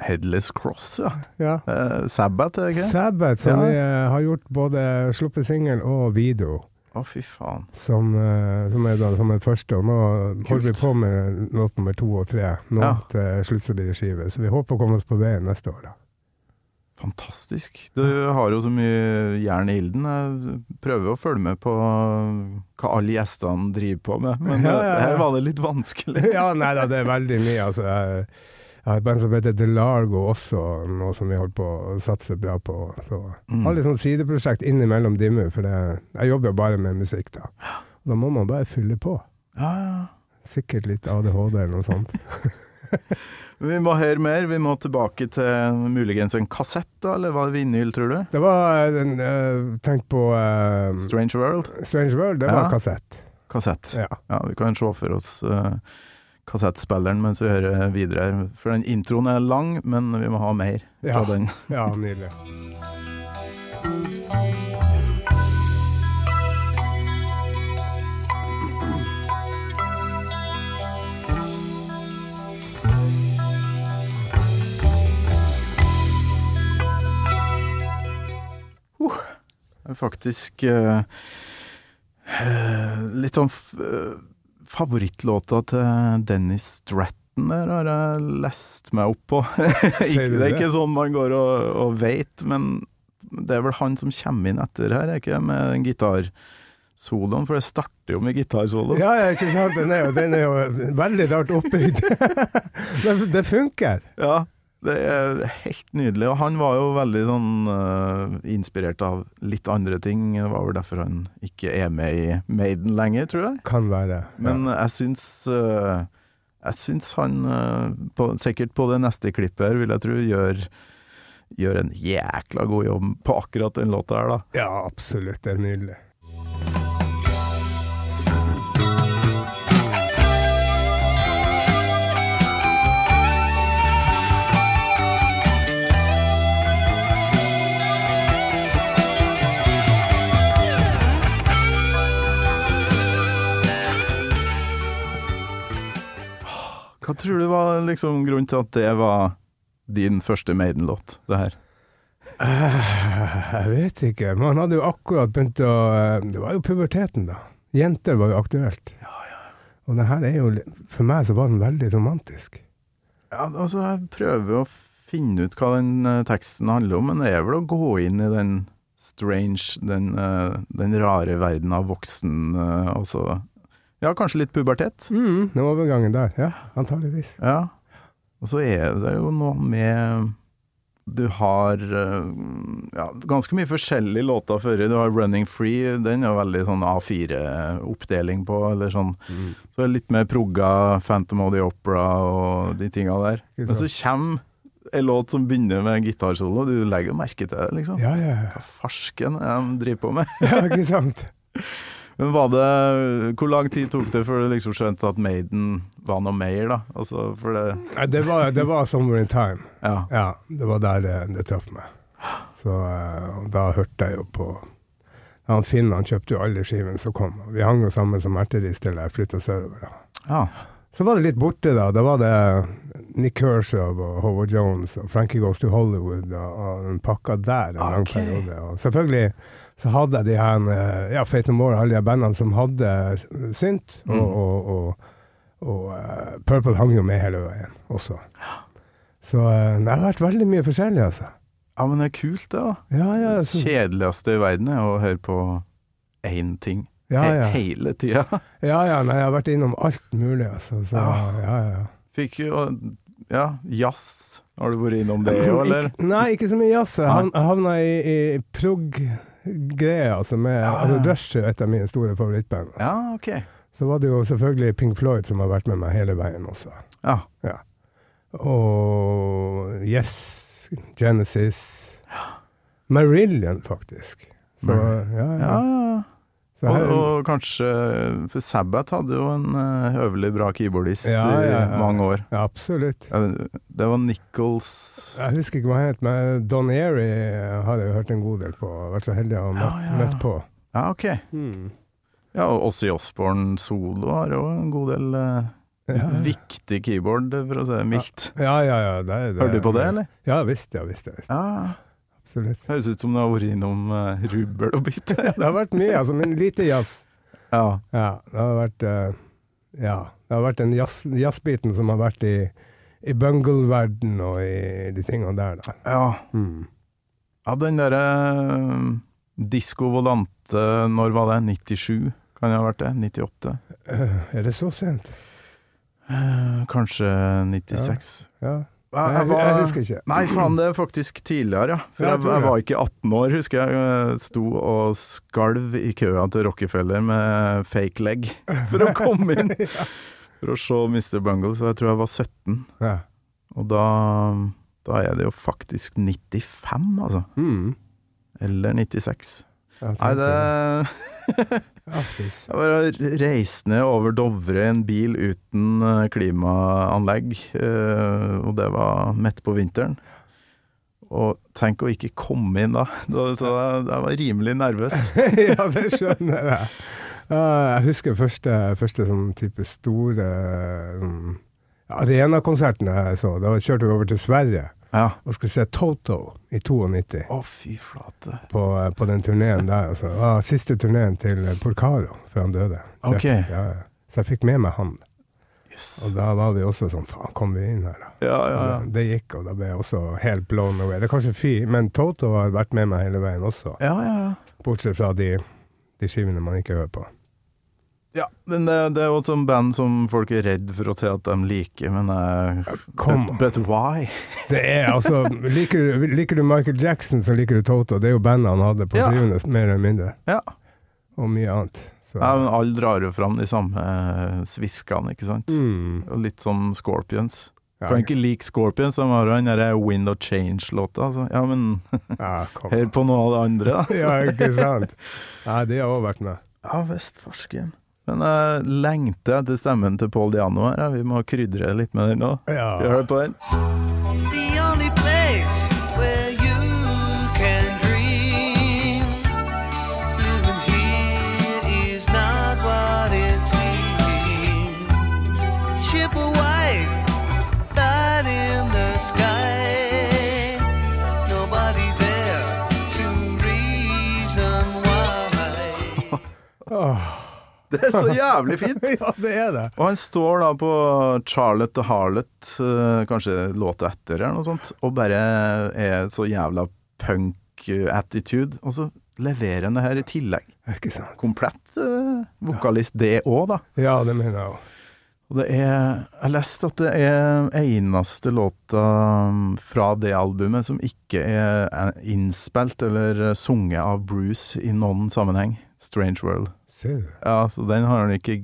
S3: Headless Cross, ja.
S2: Ja.
S3: Eh, Sabbath, er det ikke?
S2: Sabbath, som
S3: Ja.
S2: vi eh, har gjort både sluppet singel og video,
S3: Å, fy faen.
S2: som, eh, som er da, som den første. Og nå holder vi
S3: Kult.
S2: på med låt nummer to og tre. Nå
S3: Ja.
S2: til slutt så blir det skive. Så vi håper å komme oss på veien neste år, da.
S3: Fantastisk. Du har jo så mye jern i ilden. Jeg prøver å følge med på hva alle gjestene driver på med, men
S2: Ja, ja,
S3: eh,
S2: ja.
S3: her var det litt vanskelig.
S2: ja, nei da, det er veldig mye. Altså, jeg, jeg har et band som heter DeLargo også, nå som vi holder på å satse bra på. Så.
S3: Mm.
S2: Har litt sånn sideprosjekt innimellom Dimmu, for det, jeg jobber jo bare med musikk da. Da må man bare fylle på.
S3: Ja, ja.
S2: Sikkert litt ADHD eller noe sånt.
S3: Vi må høre mer. Vi må tilbake til muligens en kassett, da, eller hva vinyl, tror du?
S2: Det var eh, den, eh, Tenk på eh,
S3: Strange World?
S2: Strange World, det var
S3: Ja.
S2: kassett.
S3: Kassett.
S2: Ja.
S3: Ja, vi kan se for oss eh, kassettspilleren mens vi hører videre her. For den introen er lang, men vi må ha mer fra
S2: Ja.
S3: den.
S2: ja, nydelig.
S3: Det er Faktisk eh, eh, litt sånn f eh, Favorittlåta til Dennis Stratton der har jeg lest meg opp på.
S2: Sier du
S3: det er
S2: det?
S3: ikke sånn man går og, og veit, men det er vel han som kommer inn etter her, er ikke det, med den gitarsoloen? For det starter jo med gitarsolo.
S2: Ja, ja, ikke sant? Den er jo, den er jo veldig rart oppbygd. Men det funker.
S3: Ja, det er helt nydelig. Og han var jo veldig sånn eh, inspirert av litt andre ting. Det var vel derfor han ikke er med i Maiden lenger, tror jeg.
S2: Kan være. ja.
S3: Men jeg syns eh, Jeg syns han, eh, på, sikkert på det neste klippet her, vil jeg tro, gjør, gjør en jækla god jobb på akkurat den låta her, da.
S2: Ja, absolutt. Det er nydelig.
S3: Hva tror du var liksom grunnen til at det var din første Maiden-låt, det her?
S2: Eh, Jeg vet ikke. Man hadde jo akkurat begynt å eh, Det var jo puberteten, da. Jenter var jo aktuelt. Og det her er jo li- For meg så var den veldig romantisk.
S3: Ja, altså, jeg prøver å finne ut hva den eh, teksten handler om, men det er vel å gå inn i den strange, den, eh, den rare verden av voksen, eh, altså Ja, kanskje litt pubertet.
S2: Mm, den overgangen der. Ja, antageligvis.
S3: Ja. Og så er det jo noe med Du har eh, ja, ganske mye forskjellige låter før. Du har 'Running Free', den er jo veldig sånn A4-oppdeling på, eller sånn.
S2: Mm.
S3: Så er det litt mer progga, 'Phantom of the Opera' og de tinga der.
S2: Altså, Ikke
S3: Men så kommer en låt som begynner med en gitarsolo, og du legger jo merke til det, liksom.
S2: Ja, ja, ja.
S3: Hva farsken er det de driver på med?
S2: ja ikke sant?
S3: Men var det Hvor lang tid tok det før du liksom skjønte at Maiden var noe mer, da? Altså, for det
S2: Nei, det var, det var 'Somewhere in Time'.
S3: Ja.
S2: Ja, det var der det, det traff meg. Så eh, og da hørte jeg jo på han Finn han kjøpte jo alle skivene som kom. Vi hang jo sammen som erterist til jeg flytta sørover. da.
S3: ja.
S2: Så var det litt borte, da. Da var det Nick Kershaw og Howard Jones og Frankie Goes to Hollywood og, og den pakka der en lang
S3: Ok.
S2: periode. Og selvfølgelig så hadde jeg de her eh, ja, Fate No More, alle de her bandene som hadde synt, og,
S3: Mm.
S2: og, og, og eh, Purple hang jo med hele veien også. Så eh, det har vært veldig mye forskjellig, altså.
S3: Ja, men det er kult, det, da.
S2: Ja, ja.
S3: Det
S2: Så,
S3: kjedeligste i verden er å høre på én ting
S2: ja,
S3: He-
S2: ja.
S3: hele tida.
S2: ja, ja nei, jeg har vært innom alt mulig, altså. Så,
S3: Ja.
S2: ja, ja.
S3: Fikk jo Ja, jazz. Har du vært innom det òg, eller?
S2: Ikke, nei, ikke så mye jazz. Jeg
S3: Nei.
S2: havn- jeg havna i, i prog-greia, altså med
S3: Ja, ja.
S2: altså Rush er et av mine store favorittband. Altså.
S3: Ja, OK.
S2: Så var det jo selvfølgelig Pink Floyd som har vært med meg hele veien også.
S3: Ja.
S2: Og Yes, Genesis Marillion, faktisk. Så,
S3: Marillion.
S2: ja,
S3: ja,
S2: ja.
S3: ja.
S2: Så
S3: Og,
S2: her,
S3: og kanskje For Sabbath hadde jo en eh, høvelig bra keyboardist
S2: Ja, ja,
S3: i
S2: ja.
S3: mange år.
S2: ja, absolutt.
S3: Ja, det- Det var Nichols
S2: Jeg husker ikke hva han het, men Don Airy har jeg jo hørt en god del på. Vært så heldig å ha møtt,
S3: Ja, ja, ja.
S2: møtt på.
S3: Ja, OK. Ja, og Ossi Osborn solo har jo en god del eh,
S2: Ja, ja.
S3: viktig keyboard, for å si det mildt.
S2: Ja, ja, ja. Det, er- det,
S3: Hørte du på det, eller?
S2: Ja visst, ja visst. Ja, visst.
S3: Ja.
S2: Absolutt.
S3: Høres ut som du har vært innom uh, rubbel og bit.
S2: Det har vært mye, altså, men lite jazz.
S3: ja.
S2: Ja, det har vært eh, Ja, det har vært den jazz- jazzbiten som har vært i, i bungle-verden og i de tingene der, da.
S3: ja.
S2: Mm.
S3: Ja, den derre Disko Volante, når var det? 97? Kan det ha vært det? 98?
S2: Eh, er det så sent?
S3: Eh, Kanskje 96?
S2: Ja.
S3: Ja,
S2: Nei, jeg, jeg, husker ikke.
S3: Nei, faen, det er faktisk tidligere, ja. For
S2: Ja, jeg
S3: jeg,
S2: tror
S3: jeg
S2: det.
S3: var ikke 18 år, husker jeg. jeg. Sto og skalv i køa til Rockefeller med fake leg for å komme inn. For å se Mr. Bungle, så jeg tror jeg var 17.
S2: Ja.
S3: Og da, da er det jo faktisk 95, altså.
S2: Mm.
S3: Eller 96.
S2: Ja, tenkte
S3: Nei, det
S2: jeg. Ja, fy-
S3: Jeg var reisende over Dovre i en bil uten eh, klimaanlegg, eh, og det var midt på vinteren. Og tenk å ikke komme inn da, da så jeg, jeg var rimelig nervøs.
S2: ja, det skjønner jeg. Ja, jeg husker første, første sånn type store sånn, arenakonserten jeg så. Da kjørte vi over til Sverige
S3: Ja.
S2: og skulle se Toto i 92.
S3: Å, fy flate.
S2: På, på den turneen der. Altså. Det var siste turneen til Porcaro før han døde.
S3: Ok.
S2: Jeff. Ja, ja. så jeg fikk med meg han.
S3: Jøss.
S2: Og da var vi også sånn Faen, kom vi inn her, da?
S3: Ja, ja, ja.
S2: Det gikk, og da ble jeg også helt blown away. Det er kanskje fy, men Toto har vært med meg hele veien også.
S3: Ja, ja, ja.
S2: Bortsett fra de, de skivene man ikke hører på.
S3: Ja, men det, det er jo et sånt band som folk er redd for å se at de liker, men eh,
S2: Kom
S3: but, but why?
S2: Det er altså liker, du- liker du Michael Jackson, så liker du Toto. Det er jo bandet han hadde på
S3: Ja.
S2: syvende, mer eller mindre.
S3: Ja.
S2: Og mye annet. Så.
S3: Ja, men alle drar jo fram de samme eh, sviskene, ikke sant?
S2: Mm.
S3: Og litt som Scorpions.
S2: Ja,
S3: Kan ikke like Scorpions, de har jo den derre Wind of Change-låta. Altså. Ja, men
S2: ja, kom.
S3: hør på noe av det andre, da.
S2: ja, ikke sant? Nei, det har også vært med.
S3: Ja visst, farsken. Men jeg lengter etter stemmen til Paul Diano her. ja. Vi må krydre litt med den nå. Skal vi
S2: Ja.
S3: høre på den?
S4: the only place where you can dream. Living here is not what it seems. Ship away, light in the sky. Nobody there to reason why.
S2: Åh,
S3: Det er så jævlig fint!
S2: ja, det er det.
S3: Og han står da på Charlotte the Harlot, eh, kanskje låta etter eller noe sånt, og bare er så jævla punk-attitude. Og så leverer han det her i tillegg.
S2: Ikke sant.
S3: Komplett eh, vokalist det òg, da.
S2: Ja, det mener jeg òg.
S3: Og det er Jeg leste at det er eneste låta mm, fra det albumet som ikke er eh, innspilt eller eh, sunget av Bruce i noen sammenheng. Strange World.
S2: Ser du.
S3: Ja, så den har han ikke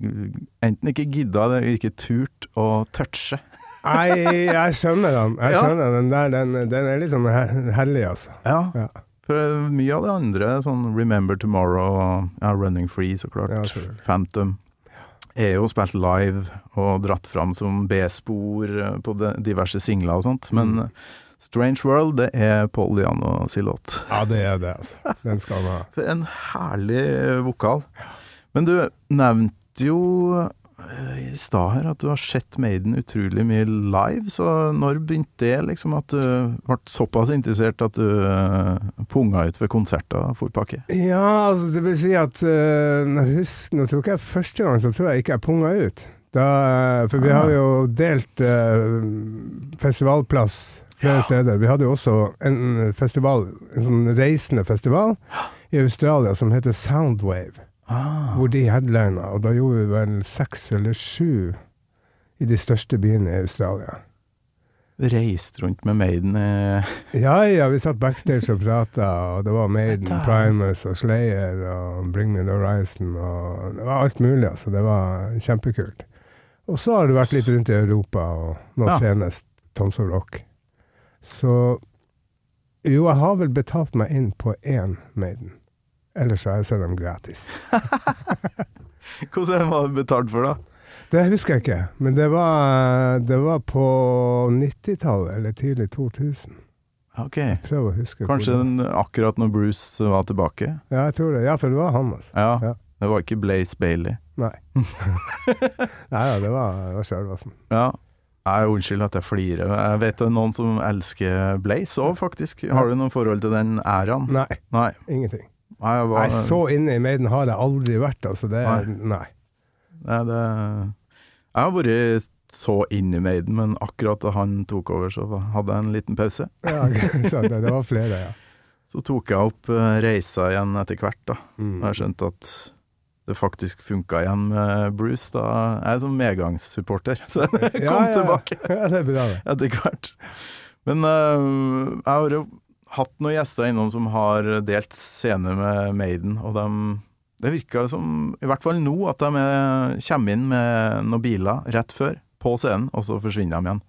S3: Enten ikke gidda eller ikke turt å touche.
S2: Nei, jeg skjønner den. Jeg
S3: Ja.
S2: skjønner den der. Den, den er litt sånn he- hellig, altså.
S3: Ja,
S2: Ja.
S3: for eh, mye av det andre, sånn Remember Tomorrow og ja, Running Free, så klart,
S2: Ja, selvfølgelig.
S3: Phantom, er jo spilt live og dratt fram som B-spor eh, på de, diverse singler og sånt. Men
S2: Mm.
S3: eh, Strange World, det er Paul Diano sin låt.
S2: Ja, det er det, altså. Den skal han ha.
S3: For en herlig eh, vokal. Men du nevnte jo eh, i stad her at du har sett Maiden utrolig mye live, så når begynte det liksom at du ble såpass interessert at du eh, punga ut ved konserter full pakke?
S2: Ja, altså det vil si at eh, nå husk, nå tror ikke jeg første gang, så tror jeg ikke jeg punga ut. Da, eh, for vi
S3: Ah.
S2: har jo delt eh, festivalplass flere steder. Vi hadde jo også en festival, en sånn reisende festival i Australia som heter Soundwave,
S3: Ah,
S2: hvor de headlina. Og da gjorde vi vel seks eller sju i de største byene i Australia.
S3: reist rundt med Maiden eh, i
S2: Ja ja, vi satt backstage og prata, og det var Maiden,
S3: Dette-
S2: Primus og Slayer og Bring Me The Horizon og det var alt mulig, altså. Det var kjempekult. Og så har det vært litt rundt i Europa, og nå
S3: Ja.
S2: senest Tons of Rock. Så jo, jeg har vel betalt meg inn på én Maiden. Ellers har jeg sett dem gratis.
S3: Hvordan var det betalt for, da?
S2: Det husker jeg ikke, men det var, det var på 90-tallet, eller tidlig 2000.
S3: Ok,
S2: Prøv å huske.
S3: Kanskje
S2: hvordan-
S3: den, akkurat når Bruce var tilbake?
S2: Ja, jeg tror det. Ja, for det var han, altså.
S3: Ja,
S2: Ja.
S3: Det var ikke Blaze Bailey.
S2: Nei. Nei ja, det var, det var altså. Sjølvassen.
S3: Ja. Nei, unnskyld at jeg flirer. men Jeg vet det er noen som elsker Blaze òg, faktisk. Har du noe forhold til den æraen?
S2: Nei,
S3: Nei.
S2: ingenting.
S3: Nei, jeg var,
S2: Nei, så inne i Maiden har jeg aldri vært, altså. Det er Nei.
S3: Nei, det Jeg har vært så inn i Maiden, men akkurat da han tok over, så hadde jeg en liten pause.
S2: Ja, så det, det var flere, ja.
S3: Så tok jeg opp eh, reisa igjen etter hvert, da.
S2: Mm.
S3: Og jeg skjønte at det faktisk funka igjen med Bruce. da. Jeg er sånn medgangssupporter, så jeg
S2: Ja,
S3: kom
S2: ja, ja.
S3: tilbake
S2: Ja, det er bra, det.
S3: etter hvert. Men eh, jeg har jo hatt noen gjester innom som har delt scene med Maiden, og dem, det virka som, i hvert fall nå, at de er, kommer inn med noen biler rett før, på scenen, og så forsvinner de igjen.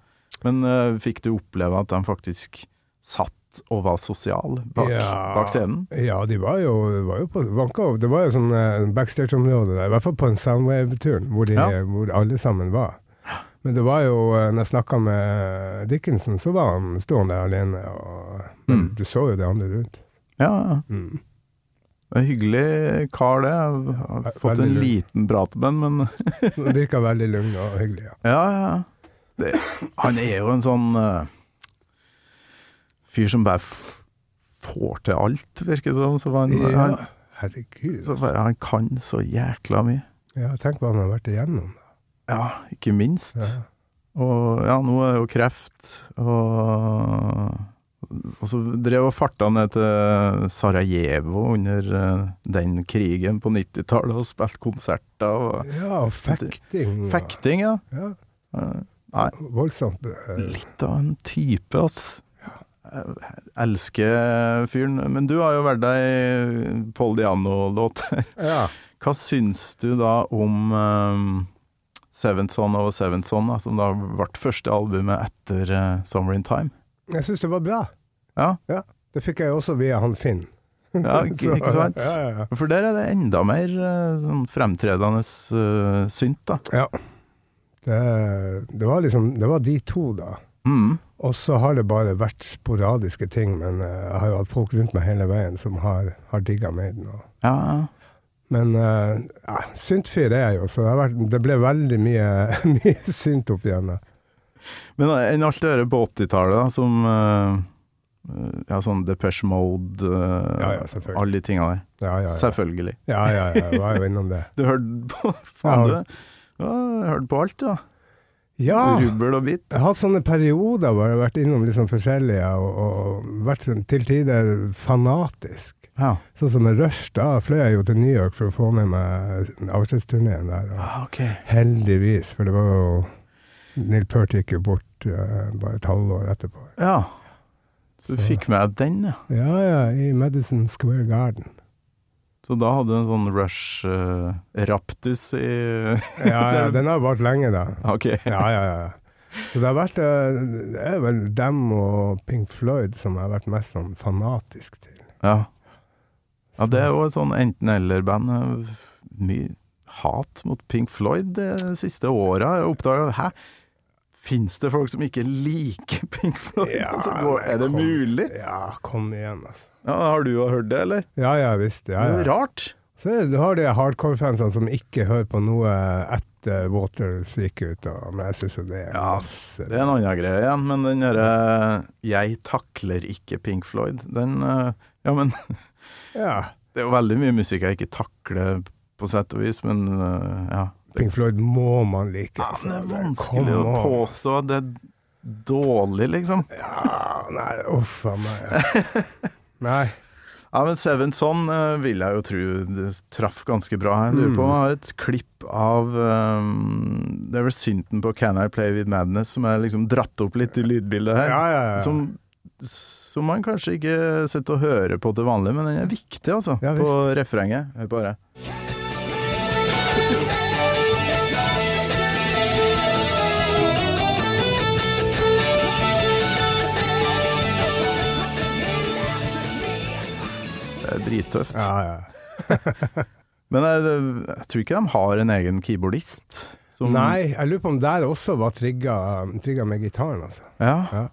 S3: Men eh, fikk du oppleve at de faktisk satt og var sosial bak,
S2: Ja.
S3: bak scenen?
S2: Ja, de var jo, var jo på vanka opp. Det var jo sånn eh, backstage-område der, i hvert fall på en Soundwave-turn, hvor, de-
S3: Ja.
S2: hvor alle sammen var. Men det var jo, eh, når jeg snakka med Dickinson, så var han stående der alene, og, men
S3: Mm.
S2: du så jo det andre rundt.
S3: Ja, ja.
S2: Mm.
S3: Det er en Hyggelig kar, det. Jeg har fått en
S2: veldig lurt.
S3: liten prat med han, men
S2: Det Virka veldig lugn og hyggelig, ja.
S3: Ja, ja. ja. Det, han er jo en sånn eh, fyr som bare f får til alt, virker det som. Så han, han,
S2: Ja, herregud.
S3: så bare, han kan så jækla mye.
S2: Ja, tenk hva han har vært igjennom.
S3: Ja, ikke minst.
S2: Ja.
S3: Og ja, nå er jo kreft og og så drev og farta ned til Sarajevo under eh, den krigen på 90-tallet og spilte konserter og
S2: ja, og fekting. og-
S3: fekting, ja.
S2: Ja,
S3: Eh,
S2: voldsomt. eh,
S3: Litt av en type, ass. Jeg elsker fyren. Men du har jo vært deg Paul Diano-låt.
S2: Ja.
S3: Hva syns du da om um, Seventh Son og Seventh Son, da, som da ble første albumet etter eh, Summer in Time?
S2: Jeg syns det var bra.
S3: Ja,
S2: Det fikk jeg også via han Finn.
S3: ja ikke,
S2: Så-
S3: ikke sant?
S2: Ja, ja, ja.
S3: For der er det enda mer eh, sånn fremtredende eh, synt, da.
S2: ja. Det, det var liksom Det var de to, da.
S3: Mm.
S2: Og så har det bare vært sporadiske ting, men eh, jeg har jo hatt folk rundt meg hele veien som har, har digga Maiden. Og,
S3: Ja,
S2: men uh, ja, syntfyr er jeg jo, så det, har vært, det ble veldig mye, mye synt opp igjennom.
S3: Men enn alt det der på 80-tallet, da, som eh, eh, ja, sånn Depeche Mode, eh,
S2: Ja, ja, selvfølgelig.
S3: alle de tinga der.
S2: Ja, ja, ja.
S3: Selvfølgelig.
S2: ja, ja, ja. Jeg var jo innom det.
S3: Du hørte på Faen,
S2: Ja.
S3: du. Ja, jeg hørte på alt, du. da.
S2: Ja!
S3: Rubbel og bit.
S2: Jeg har hatt sånne perioder hvor jeg har vært innom litt sånn forskjellige, og, og vært sånn, til tider fanatisk.
S3: Ja.
S2: Sånn som med Rush, da fløy jeg jo til New York for å få med meg avskjedsturneen der. Og
S3: Ah, ok.
S2: heldigvis, for det var jo Neil Peart gikk jo bort eh, bare et halvår etterpå.
S3: Ja. Så du
S2: Så-
S3: fikk med deg den, ja.
S2: Ja, ja, i Madison Square Garden.
S3: Så da hadde du en sånn Rush-raptus i
S2: Ja, ja, den har vart lenge, da.
S3: Ok.
S2: Ja, ja, ja. Så det har vært eh, Det er vel dem og Pink Floyd som jeg har vært mest sånn fanatisk til.
S3: Ja. Ja, det er jo et sånn enten-eller-band. Mye hat mot Pink Floyd de siste åra. Jeg oppdaga Hæ? Fins det folk som ikke liker Pink Floyd?
S2: Ja,
S3: Altså, går, er det
S2: kom-
S3: mulig?
S2: Ja, kom igjen, altså.
S3: Ja, har du jo hørt det, eller?
S2: Ja, ja visst. Ja,
S3: Det er jo
S2: ja.
S3: rart.
S2: Så er det- du har de hardcore-fansene som ikke hører på noe etter Waters gikk ut, og, men jeg syns jo det er
S3: Ja,
S2: masse
S3: Det er en annen greie igjen, men den derre 'jeg takler ikke Pink Floyd', den eh, Ja, men
S2: Ja.
S3: det er jo veldig mye musikk jeg ikke takler, på sett og vis, men eh, ja.
S2: Pink Floyd må man like.
S3: Ja,
S2: altså.
S3: men det er
S2: Det-
S3: vanskelig
S2: come
S3: å
S2: on.
S3: påstå at det er dårlig, liksom.
S2: Ja, nei, uff a meg. altså. Nei.
S3: Ja, men Seven Son eh, vil jeg jo tro det traff ganske bra. Jeg lurer på om jeg har et klipp av eh, Det er vel synten på 'Can I Play With Madness' som er liksom dratt opp litt i lydbildet her.
S2: Ja, ja, ja.
S3: Som, som man kanskje ikke sitter og hører på til vanlig, men den er viktig, altså.
S2: Ja, visst.
S3: på refrenget. Hør på det. Det er drittøft.
S2: ja, ja.
S3: Men jeg, jeg tror ikke de har en egen keyboardist. som-
S2: Nei, jeg lurer på om der også var trigga, trigga med gitaren, altså.
S3: Ja.
S2: Ja.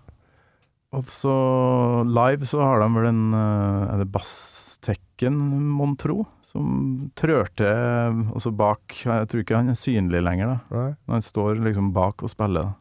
S3: Og så live så har de vel en eh, Er det basstekken, mon tro? Som trør til også bak Jeg tror ikke han er synlig lenger, da.
S2: Nei.
S3: Men han står liksom bak og spiller.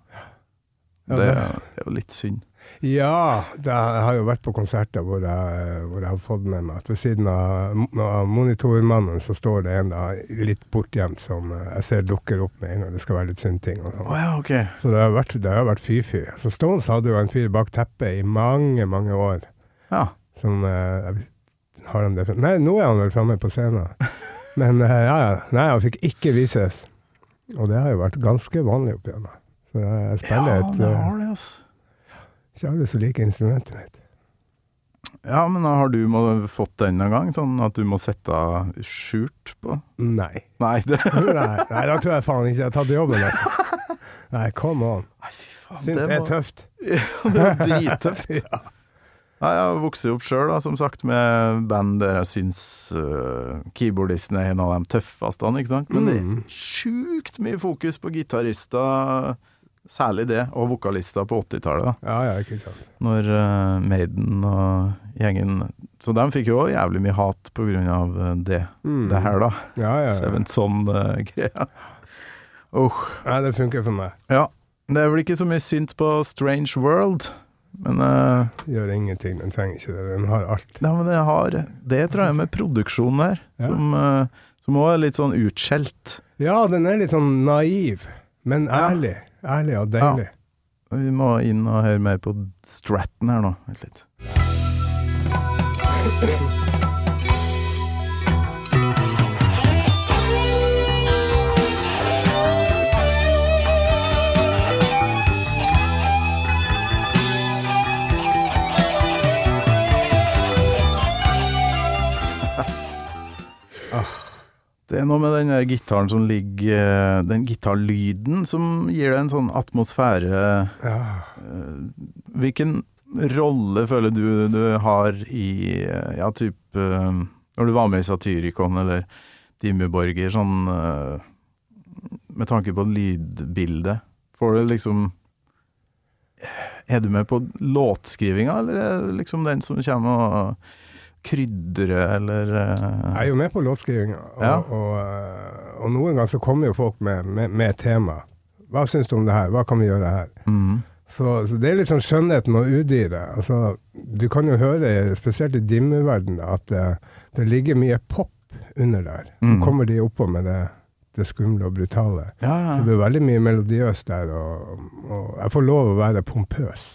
S2: Ja,
S3: da. Det,
S2: det-
S3: det er jo litt synd.
S2: Ja, det jeg har jo vært på konserter hvor jeg, hvor jeg har fått med meg at ved siden av, av monitormannen så står det en da litt bortgjemt som eh, jeg ser dukker opp med en gang det skal være litt syndting og
S3: Å
S2: sånn.
S3: ja, ok.
S2: Så det har vært, det har vært fy-fy. Så Stones hadde jo en fyr bak teppet i mange, mange år
S3: Ja.
S2: som eh, jeg- Har han det frem- Nei, nå er han vel framme på scenen. Men eh, ja, ja. Nei, han fikk ikke vises. Og det har jo vært ganske vanlig opp igjennom. Så jeg spiller
S3: ja,
S2: et
S3: det
S2: eh,
S3: har det, altså.
S2: Ikke alle som liker instrumentet mitt.
S3: Ja, men da har du må, fått den en gang, sånn at du må sette skjult på
S2: Nei.
S3: Nei, det
S2: Nei, nei, da tror jeg faen ikke jeg har tatt jobben. Altså. Nei, come on.
S3: Nei, fy faen.
S2: Synt det er tøft.
S3: Det er drittøft. Nei, jeg har vokst opp sjøl, som sagt, med band der jeg syns øh, keyboardisten er en av de tøffeste. Ikke sant? Men det
S2: Mm.
S3: er sjukt mye fokus på gitarister, særlig det, og vokalister på 80-tallet. da,
S2: Ja, ja, ikke sant.
S3: Når øh, Maiden og gjengen Så de fikk jo også jævlig mye hat på grunn av øh, det,
S2: Mm.
S3: det her, da.
S2: Ja, ja, ja.
S3: Seven Son-greia. Åh
S2: Nei, det funker for meg.
S3: ja. Det er vel ikke så mye synt på Strange World, men øh,
S2: Gjør ingenting. Den trenger ikke det. Den har alt.
S3: Ja, men det har Det tror jeg med produksjonen her,
S2: Ja.
S3: som, eh, som også er litt sånn utskjelt.
S2: Ja, den er litt sånn naiv, men
S3: Ja.
S2: ærlig. Ærlig og deilig.
S3: Vi må inn og høre mer på Stratton her nå. Vent litt. Ah. Det er noe med den der gitaren som ligger eh, Den gitarlyden som gir det en sånn atmosfære
S2: Ja.
S3: Hvilken rolle føler du du har i eh, Ja, typ eh, Når du var med i Satyricon eller Dimmeborger, sånn eh, Med tanke på lydbildet, får du liksom Er du med på låtskrivinga, eller er det liksom den som kommer og krydrer, eller
S2: Jeg
S3: eh,
S2: er jo med på låtskrivinga, og,
S3: Ja.
S2: og, eh, og noen ganger så kommer jo folk med, med, med et tema. Hva syns du om det her? Hva kan vi gjøre her?
S3: mm,
S2: Så, så det er litt sånn skjønnheten og udyret. Altså, du kan jo høre, spesielt i dimmeverdenen, at det, det ligger mye pop under der. Så
S3: Mm.
S2: kommer de oppå med det, det skumle og brutale. Så
S3: Ja, ja.
S2: det er veldig mye melodiøst der, og, og jeg får lov å være pompøs.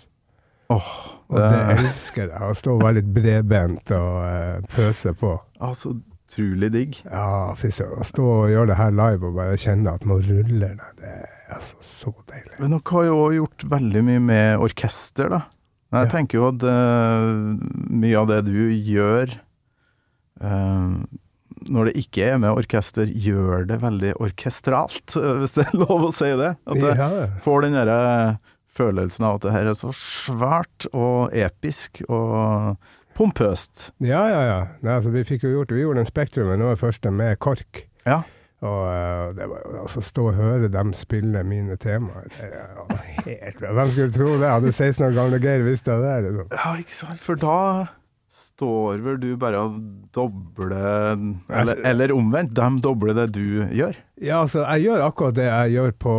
S3: Åh,
S2: Og det
S3: det-
S2: elsker jeg. Å stå og være litt bredbent og eh, pøse på.
S3: altså, utrolig digg.
S2: Ja, fy søren. Å stå og gjøre det her live og bare kjenne at nå ruller det, det er altså så deilig.
S3: Men dere har jo også gjort veldig mye med orkester, da. Men Jeg
S2: Ja.
S3: tenker jo at eh, mye av det du gjør eh, når det ikke er med orkester, gjør det veldig orkestralt, eh, hvis det er lov å si det. At det
S2: Ja,
S3: får den derre følelsen av at det her er så svært og episk og pompøst.
S2: ja, ja. ja. Nei, altså, vi fikk jo gjort Vi gjorde en Spektrum, men nå er første med KORK.
S3: Ja.
S2: Og eh, det var jo altså stå og høre dem spille mine temaer. Det er jo helt bra. Hvem skulle tro det? Hadde 16 år gamle Geir visst det der, liksom.
S3: Ja, ikke sant, for da står vel du bare og dobler Eller, eller omvendt, de dobler det du gjør.
S2: Ja, altså, jeg gjør akkurat det jeg gjør på,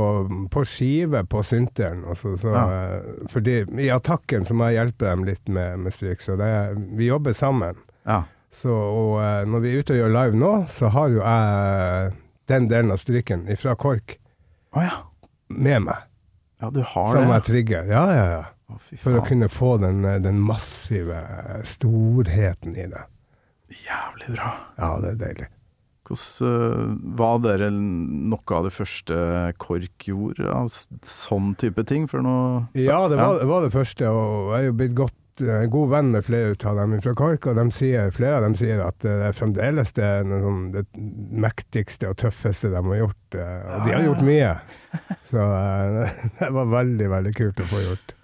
S2: på skive på synteren. Altså, så,
S3: Ja.
S2: eh, Fordi i attacken så må jeg hjelpe dem litt med, med stryk, så det, vi jobber sammen.
S3: Ja.
S2: Så, og eh, når vi er ute og gjør live nå, så har jo jeg den delen av stryken fra KORK
S3: Å ja.
S2: med meg,
S3: Ja, du har
S2: som jeg
S3: det.
S2: trigger. Ja, ja, ja.
S3: Å, fy
S2: For å
S3: faen.
S2: kunne få den, eh, den massive storheten i det.
S3: Jævlig bra.
S2: Ja, det er deilig.
S3: Hvordan øh, var dere noe av det første KORK gjorde av s- sånn type ting? For noe
S2: Ja, det var, det var det første, og jeg er jo blitt godt, eh, god venn med flere ut av dem fra KORK, og de sier, flere av dem sier at eh, det er fremdeles det, er noe sånn, det mektigste og tøffeste de har gjort, eh, og de har
S3: Ah.
S2: gjort mye. Så eh, det var veldig, veldig kult å få gjort.
S3: Ah.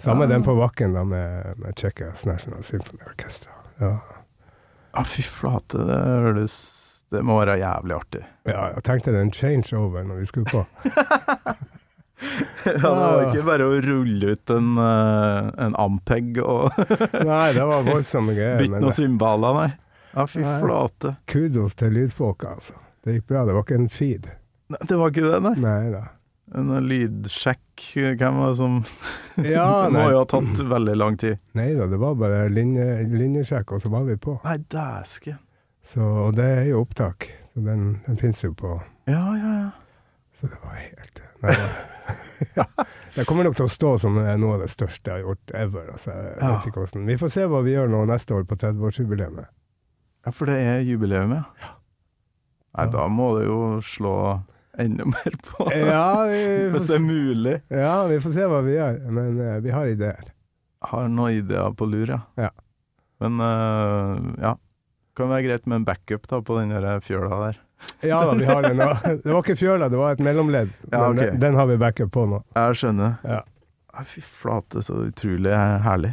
S2: Samme den på bakken da med, med Tsjekkias National Symphony Orchestra. Ja.
S3: Ja, fy flate, det høres Det må være jævlig artig.
S2: Ja, jeg tenkte det en changeover når vi skulle på.
S3: Ja, det var ikke bare å rulle ut en, øh, en Ampeg og
S2: Nei, det var voldsomme greier.
S3: bytte
S2: men
S3: noen
S2: det-
S3: cymbaler, nei. Ja, fy
S2: Nei.
S3: flate.
S2: Kudos til lydfolka, altså. Det gikk bra. Det var ikke en feed.
S3: Nei, det var ikke det, nei.
S2: Nei da.
S3: En lydsjekk, hvem var det som
S2: Ja,
S3: Det må jo ha tatt veldig lang tid.
S2: Nei da, det var bare linje, linjesjekk, og så var vi på.
S3: Nei, dæsken.
S2: Så, og det er jo opptak. Så den, den fins jo på
S3: Ja, ja, ja.
S2: Så det var helt Nei. det- ja. Det kommer nok til å stå som eh, noe av det største jeg har gjort ever. Altså, jeg
S3: Ja.
S2: vet ikke hvordan. Vi får se hva vi gjør nå neste år på 30-årsjubileet.
S3: Ja, for det er jubileum, ja. Nei,
S2: Ja.
S3: da må det jo slå enda mer på.
S2: Ja, vi får
S3: Hvis det
S2: se-
S3: er mulig.
S2: ja, vi får se hva vi gjør. Men eh, vi har ideer.
S3: Har noen ideer på lur, ja.
S2: Ja.
S3: Men eh, ja. Kan være greit med en backup da på den der fjøla der.
S2: Ja da, vi har det nå. Det var ikke fjøla, det var et mellomledd.
S3: Ja,
S2: Men
S3: ok.
S2: den, den har vi backup på nå.
S3: Jeg skjønner.
S2: Ja.
S3: Nei, Fy flate, så utrolig herlig.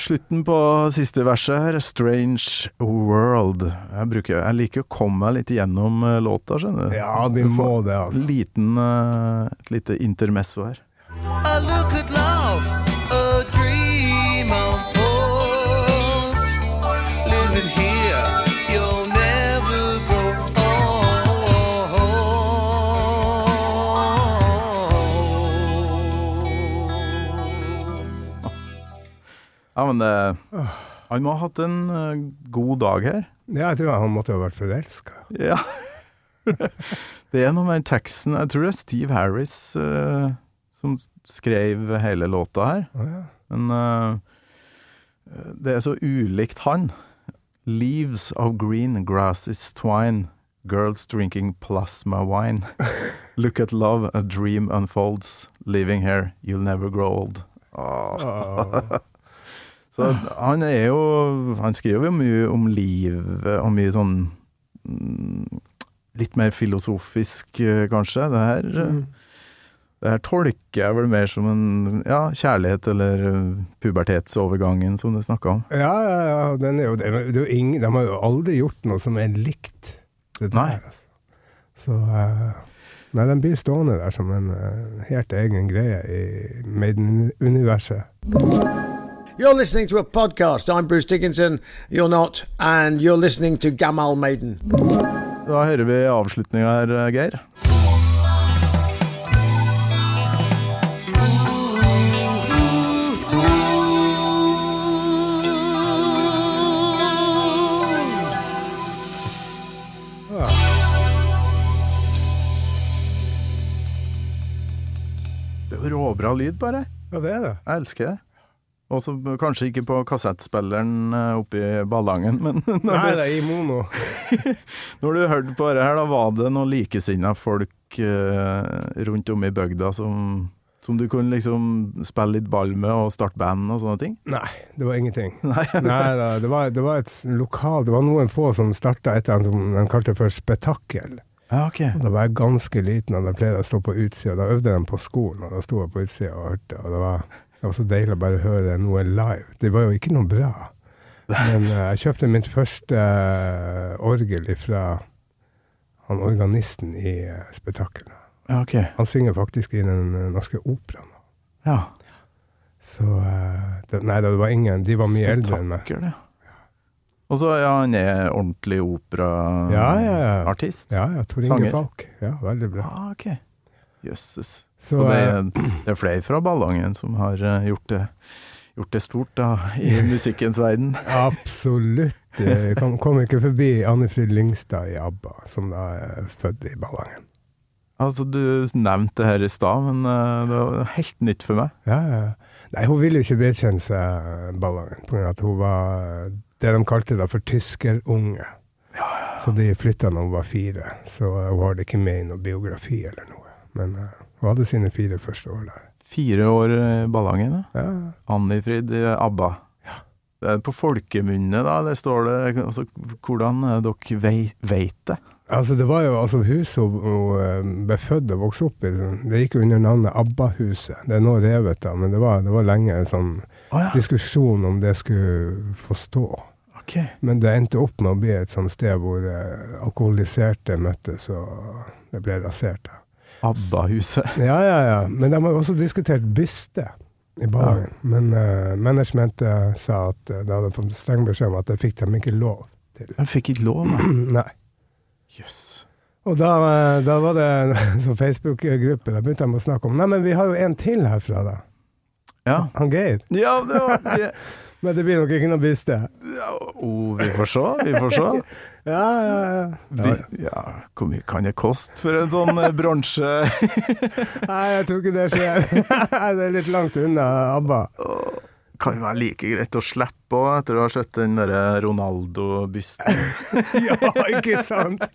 S3: Slutten på siste verset her, 'Strange World'. Jeg, bruker, jeg liker å komme meg litt gjennom eh, låta, skjønner du.
S2: Ja, vi
S3: Du får
S2: må det, altså.
S3: Liten, eh, et lite intermesso her.
S4: I look at love, a dream unfolds. Living here, you'll never grow old.
S3: Ja, men det Han må ha hatt en eh, god dag her.
S2: Ja, jeg tror han måtte ha vært forelska.
S3: Ja. det er noe med den teksten Jeg tror det er Steve Harris eh, som s- skrev hele låta her.
S2: Å, ja.
S3: Men eh, det er så ulikt han. Leaves of green grasses twine. Girls drinking plasma wine. Look at love, a dream unfolds. Living here, you'll never grow old. Ah. Åh.
S2: Å.
S3: Så han er jo Han skriver jo mye om livet, og mye sånn mm, Litt mer filosofisk, eh, kanskje. Det her, det her tolker jeg vel mer som en ja, kjærlighet, eller eh, pubertetsovergangen, som du snakka om.
S2: Ja, ja, ja. Den er jo, det er jo ingen, de har jo aldri gjort noe som er likt. Det der,
S3: Nei.
S2: Altså. Så eh, Nei, den blir stående der som en eh, helt egen greie i Maiden-universet.
S5: You're listening to a podcast. I'm Bruce Dickinson. You're not. And you're listening to Gamal Maiden.
S3: Da hører vi avslutninga her, eh, Geir. jo råbra lyd, bare.
S2: Ja, det er det.
S3: Jeg elsker det. Også b- kanskje ikke på kassettspilleren eh, oppe i ballangen, men
S2: Nei,
S3: når du,
S2: det er i mono.
S3: når du hørte på det her, da var det noen likesinna folk eh, rundt om i bygda som, som du kunne liksom spille litt ball med og starte band og sånne ting?
S2: Nei, det var ingenting.
S3: Nei.
S2: Nei da, det var, det var et lokal Det var noen få som starta et eller annet som de kalte for spetakkel.
S3: Ja, ok.
S2: Da var jeg ganske liten, og da pleide jeg å stå på utsida. Da øvde de på skolen, og da sto jeg på utsida og hørte. Og det var, det var så deilig å bare høre noe live. Det var jo ikke noe bra. Men eh, jeg kjøpte mitt første eh, orgel fra han organisten i uh, spetakkelet.
S3: Ja, ok.
S2: Han synger faktisk i Den eh, norske operaen.
S3: Ja.
S2: Så eh, det, Nei, det var ingen. De var mye eldre enn meg.
S3: Spetakkel, ja. Og så, ja, han er ordentlig operaartist.
S2: Ja, ja, ja. Ja, ja. Tor Inge
S3: Sanger.
S2: Falk. Ja, veldig bra.
S3: Ah, ok. Jøsses.
S2: Så,
S3: Så, det,
S2: eh,
S3: er, det er flere fra Ballangen som har eh, gjort det, gjort det stort da, i musikkens verden.
S2: Absolutt. Eh, Kom, kom ikke forbi Anne Frid Lyngstad i ABBA, som da er født i Ballangen.
S3: Altså, du nevnte det her i stad, men eh, det var helt nytt for meg.
S2: Ja, ja. Nei, hun ville jo ikke vedkjenne seg Ballangen, på grunn av at hun var eh, det de kalte da for tyskerunge. Så de flytta da hun var fire, så eh, hun har det ikke med i noen biografi eller noe. Men eh, hun hadde sine fire første år der.
S3: Fire år i Ballangen, ja.
S2: Ja,
S3: Annifrid i ABBA. Det er På folkemunne, da, der står det altså, hvordan eh, dere vei, veit det.
S2: Altså, det var jo altså huset hun, hun eh, ble født og vokste opp i. Det gikk jo under navnet ABBA-huset. Det er nå revet, da, men det var, det var lenge en sånn
S3: Å ja,
S2: diskusjon om det skulle få stå.
S3: ok.
S2: Men det endte opp med å bli et sånt sted hvor eh, alkoholiserte møttes, og det ble rasert. da.
S3: ABBA-huset.
S2: Ja, ja, ja. Men de har også diskutert byste i Ballangen. Men eh, managementet sa at eh, de hadde fått streng beskjed om at det fikk de ikke lov til.
S3: De fikk ikke lov, nei.
S2: Nei.
S3: Jøss.
S2: Og da, eh, da var det som Facebook-gruppe, da begynte de å snakke om Nei, men vi har jo en til herfra, da.
S3: Ja.
S2: Han Geir.
S3: ja, det var det.
S2: Men det blir nok ikke noe byste.
S3: Oh, vi får se, vi får se.
S2: Ja, ja, ja.
S3: By, ja, hvor mye kan det koste for en sånn eh, bransje?
S2: Nei, jeg tror ikke det skjer. det er litt langt unna ABBA.
S3: Kan være like greit å slippe òg, etter å ha sett den derre Ronaldo-bysten.
S2: ja, ikke sant?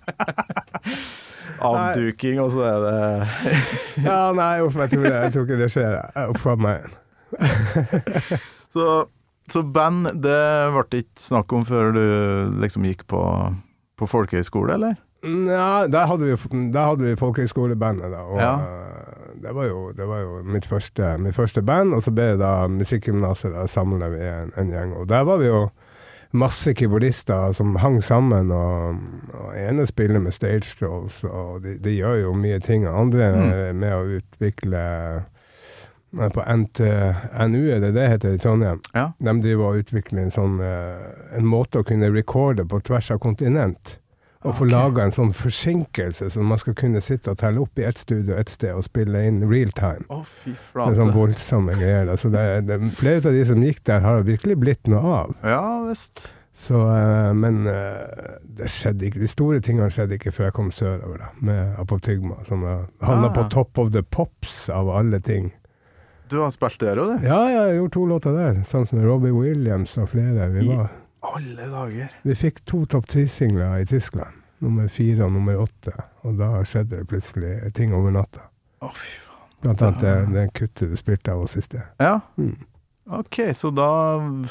S3: Avduking, og så er det
S2: Ja, nei, uff, jeg tror, det, jeg tror ikke det skjer. Jeg- Uff a meg.
S3: Så, så band, det ble ikke snakk om før du liksom gikk på, på folkehøyskole, eller?
S2: Nja, der hadde vi, jo- der hadde vi folkehøyskolebandet, da. Og
S3: Ja.
S2: eh, det, var jo, det var jo mitt første, mitt første band. Og så ble det da musikkgymnaset, da samla vi en, en gjeng. Og der var vi jo masse keyboardister som hang sammen, og, og ene spiller med stage trolls, og de, de gjør jo mye ting. og Andre
S3: Mm.
S2: er med å utvikle eh, på NT, NU, er det det heter i Trondheim?
S3: Ja.
S2: De driver og utvikler en sånn eh, en måte å kunne recorde på tvers av kontinent. Og få
S3: Ok.
S2: laga en sånn forsinkelse, så man skal kunne sitte og telle opp i ett studio ett sted og spille inn real time.
S3: Å, fy
S2: Det er sånn voldsomme greier. da. Så det, det, flere av de som gikk der, har virkelig blitt noe av.
S3: Ja visst.
S2: Så, eh, men eh, det skjedde ikke, de store tingene skjedde ikke før jeg kom sørover, da, med Apotygma, som da havna
S3: Ah.
S2: på Top of the Pops, av alle ting.
S3: Du har spilt der òg, du?
S2: Ja, ja, jeg gjorde to låter der, sammen med Robbie Williams og flere. Vi,
S3: I-
S2: var,
S3: Alle dager.
S2: vi fikk to topp ti-singler i Tyskland, nummer fire og nummer åtte, og da skjedde det plutselig ting over natta.
S3: Å, fy faen.
S2: Blant annet
S3: Ah.
S2: det, det kuttet du spilte av oss i sted.
S3: Ja.
S2: Mm.
S3: Ok, så da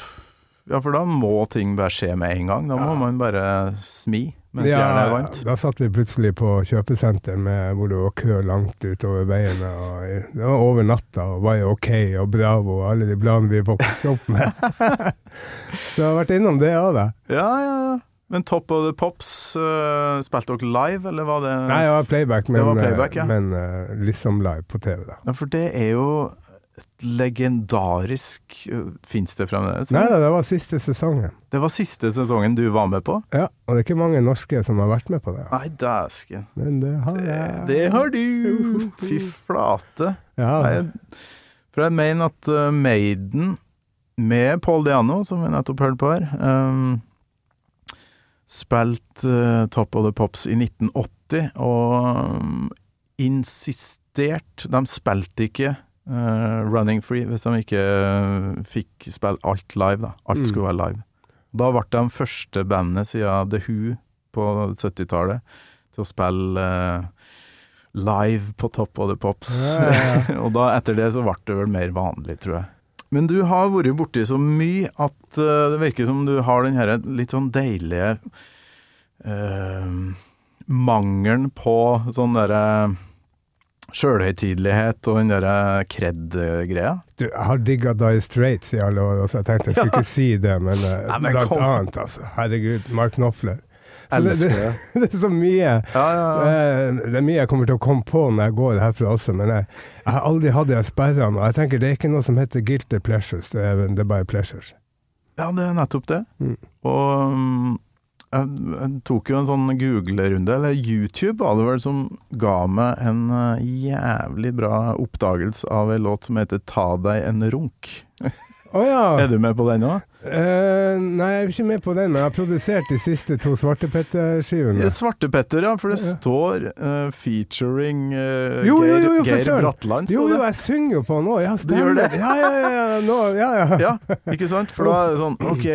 S3: Ja, for da må ting bare skje med en gang. Da må man bare smi mens jernet er varmt.
S2: Da satt vi plutselig på kjøpesenter med, hvor det var kø langt utover veiene. Og det var over natta, og var jo OK og Bravo og alle de bladene vi vokste opp med. Så jeg har vært innom det òg, da.
S3: Ja, ja, ja. Men Top of the Pops, eh, spilte dere live, eller var det
S2: Nei, jeg har playback, men,
S3: Det var playback, ja.
S2: men eh, liksom live på TV, da.
S3: Ja, for det er jo et legendarisk Fins det fremdeles?
S2: Nei da, det var siste sesongen.
S3: Det var siste sesongen du var med på?
S2: Ja, og det er ikke mange norske som har vært med på det. da.
S3: Nei, dæsken.
S2: Men det har
S3: Ah. Det,
S2: jeg.
S3: det har du! Fy flate. Nei,
S2: Ja,
S3: jeg- for jeg mener at eh, Maiden, med Paul Diano, som vi nettopp hørte på her, um, spilte eh, Top of the Pops i 1980, og um, insisterte De ehm, spilte ikke eh, running free, hvis de ikke eh, fikk spille alt live. da. Alt
S2: Mm.
S3: skulle være live. Da ble de første bandet siden The Who på 70-tallet til å spille eh, live på Top of the Pops.
S2: Ja, ja,
S3: og da etter det så ble det vel mer vanlig, tror jeg. Men du har vært borti så mye at eh, det virker som du har den her litt sånn deilige eh, mangelen på sånn derre sjølhøytidelighet og den derre kred-greia.
S2: Du, jeg har digga Dire Straits i alle år, så jeg tenkte jeg skulle ikke si det, men, eh,
S3: Nei, men
S2: blant
S3: kom.
S2: annet, altså. Herregud, Mark Knopfler. Så det,
S3: Elsker
S2: det,
S3: det.
S2: det er så mye.
S3: Ja, ja, ja.
S2: Eh, Det er mye jeg kommer til å komme på når jeg går herfra også, men jeg, jeg har aldri hatt de sperrene. Og jeg tenker det er ikke noe som heter guilty pleasures, det er, det er bare pleasures.
S3: ja, det er nettopp det.
S2: Mm.
S3: Og mm, jeg, jeg tok jo en sånn Google-runde, eller YouTube var det vel, som ga meg en eh, jævlig bra oppdagelse av ei låt som heter 'Ta deg en runk'.
S2: Å ja!
S3: Er du med på den òg?
S2: Eh, nei, jeg er ikke med på den, men jeg har produsert de siste to Svartepetter-skivene.
S3: Svartepetter, ja. For det
S2: Ja.
S3: står eh, featuring eh,
S2: Jo, jo,
S3: Geir,
S2: jo, jo, for
S3: Geir
S2: søren.
S3: Bratland.
S2: Jo,
S3: står
S2: jo,
S3: det.
S2: jeg synger jo på den nå. Ja,
S3: Du
S2: stemmer.
S3: gjør det?
S2: Ja, ja, ja. ja, Nå, ja, ja.
S3: Ja, ikke sant? For da er det sånn, ok,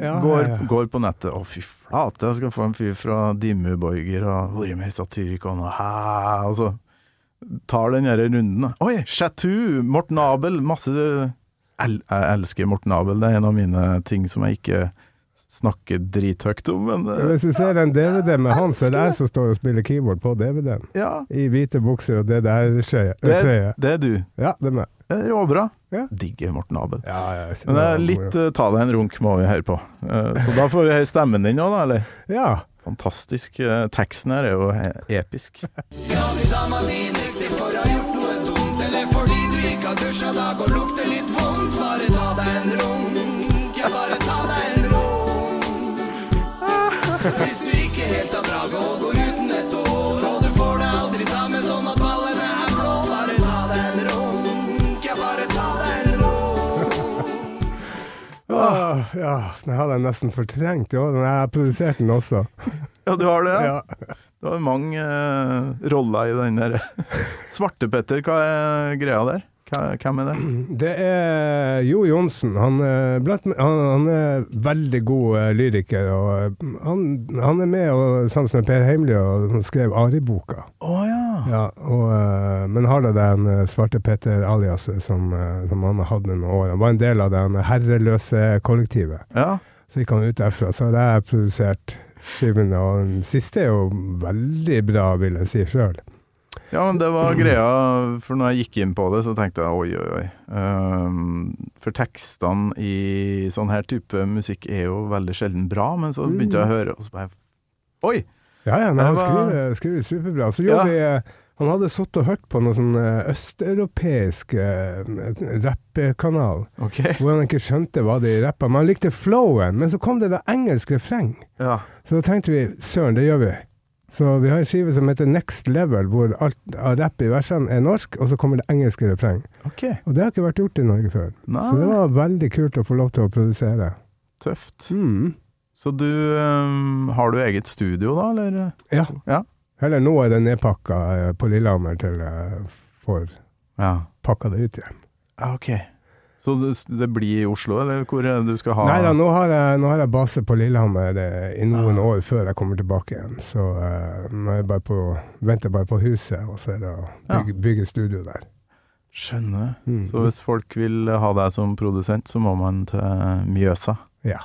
S2: Ja,
S3: går,
S2: ja, ja.
S3: går på nettet, å fy flate, jeg skal få en fyr fra Dimmeborger og vært med i Satyricon og hæ, og så tar den her runden. da. Oi, Chateau, Morten Abel, masse el, Jeg elsker Morten Abel, det er en av mine ting som jeg ikke snakker drithøyt om, men eh,
S2: Hvis du ser en DVD med han, så er det jeg som står og spiller keyboard på DVD-en.
S3: eh, ja,
S2: I hvite bukser og det der skje-
S3: det,
S2: trøyet.
S3: det er du.
S2: Ja, det er meg.
S3: Det er Råbra.
S2: Ja.
S3: Digger Morten Abel.
S2: Ja, ja, jeg
S3: Men
S2: kjenner
S3: det er
S2: han,
S3: litt eh, ta deg en runk må vi høre på. Eh, Så da får vi høre stemmen din òg, da, eller?
S2: Ja.
S3: Fantastisk. Eh, Teksten her er jo he- episk.
S4: Ja, de samme din riktig for å ha gjort noe dumt Eller fordi du ikke har dusja dag og lukter litt vondt Bare ta deg en runk Ja, bare ta deg en runk Hvis du ikke helt har draget og går uten et år Og du får det aldri da med sånn at ballene er blå Bare ta deg en runk Ja, bare ta deg en runk
S2: Åh, ja, den hadde jeg nesten fortrengt. Jo, den jeg har produsert den også.
S3: Ja, du har det? Ja.
S2: Ja.
S3: Du har mange eh, roller i den der. Svartepetter, hva er greia der? Hva- Hvem er det?
S2: Det er Jo Johnsen. Han, eh, blant, han, han er veldig god eh, lyriker. Og eh, han, han er med og, sammen med Per Heimly og han skrev Ariboka.
S3: Å ja.
S2: Ja, og, eh, men har da den eh, svarte Petter-aliaset som, eh, som han har hatt i noen år. Han var en del av den herreløse kollektivet.
S3: ja.
S2: Så gikk han ut derfra. Så har jeg produsert skivene, og den siste er jo veldig bra, vil jeg si sjøl.
S3: Ja, men det var greia, for når jeg gikk inn på det, så tenkte jeg oi, oi, oi. Ehm, for tekstene i sånn her type musikk er jo veldig sjelden bra, men så begynte jeg å høre, og så bare Oi!
S2: Ja, ja, nei,
S3: Det
S2: han
S3: var-
S2: skriver, eh, skriver superbra. Så
S3: Ja.
S2: gjorde vi eh, Han hadde sittet og hørt på noen sånn eh, østeuropeisk eh, rappekanal,
S3: OK.
S2: hvor han ikke skjønte hva de rappa, men han likte flowen. Men så kom det da engelsk refreng.
S3: Ja.
S2: Så da tenkte vi søren, det gjør vi. Så vi har en skive som heter Next Level, hvor alt av rapp i versene er norsk, og så kommer det engelske refreng.
S3: OK.
S2: Og det har ikke vært gjort i Norge før. Så det
S3: Nei,
S2: var veldig kult å få lov til å produsere.
S3: tøft.
S2: Mm.
S3: Så du ehm, Har du eget studio, da, eller?
S2: Ja.
S3: Ja.
S2: Heller nå er det nedpakka eh, på Lillehammer til jeg får
S3: Ja.
S2: pakka det ut igjen. Ah,
S3: Ja, ok. Så det, det blir i Oslo, eller hvor er det du skal ha
S2: Nei da, nå har, jeg, nå har jeg base på Lillehammer eh, i noen år før jeg kommer tilbake igjen. Så eh, nå er jeg bare på, venter bare på huset, og så er det å bygge, bygge studio der.
S3: Skjønner.
S2: Mm.
S3: Så hvis folk vil ha deg som produsent, så må man til Mjøsa.
S2: Ja,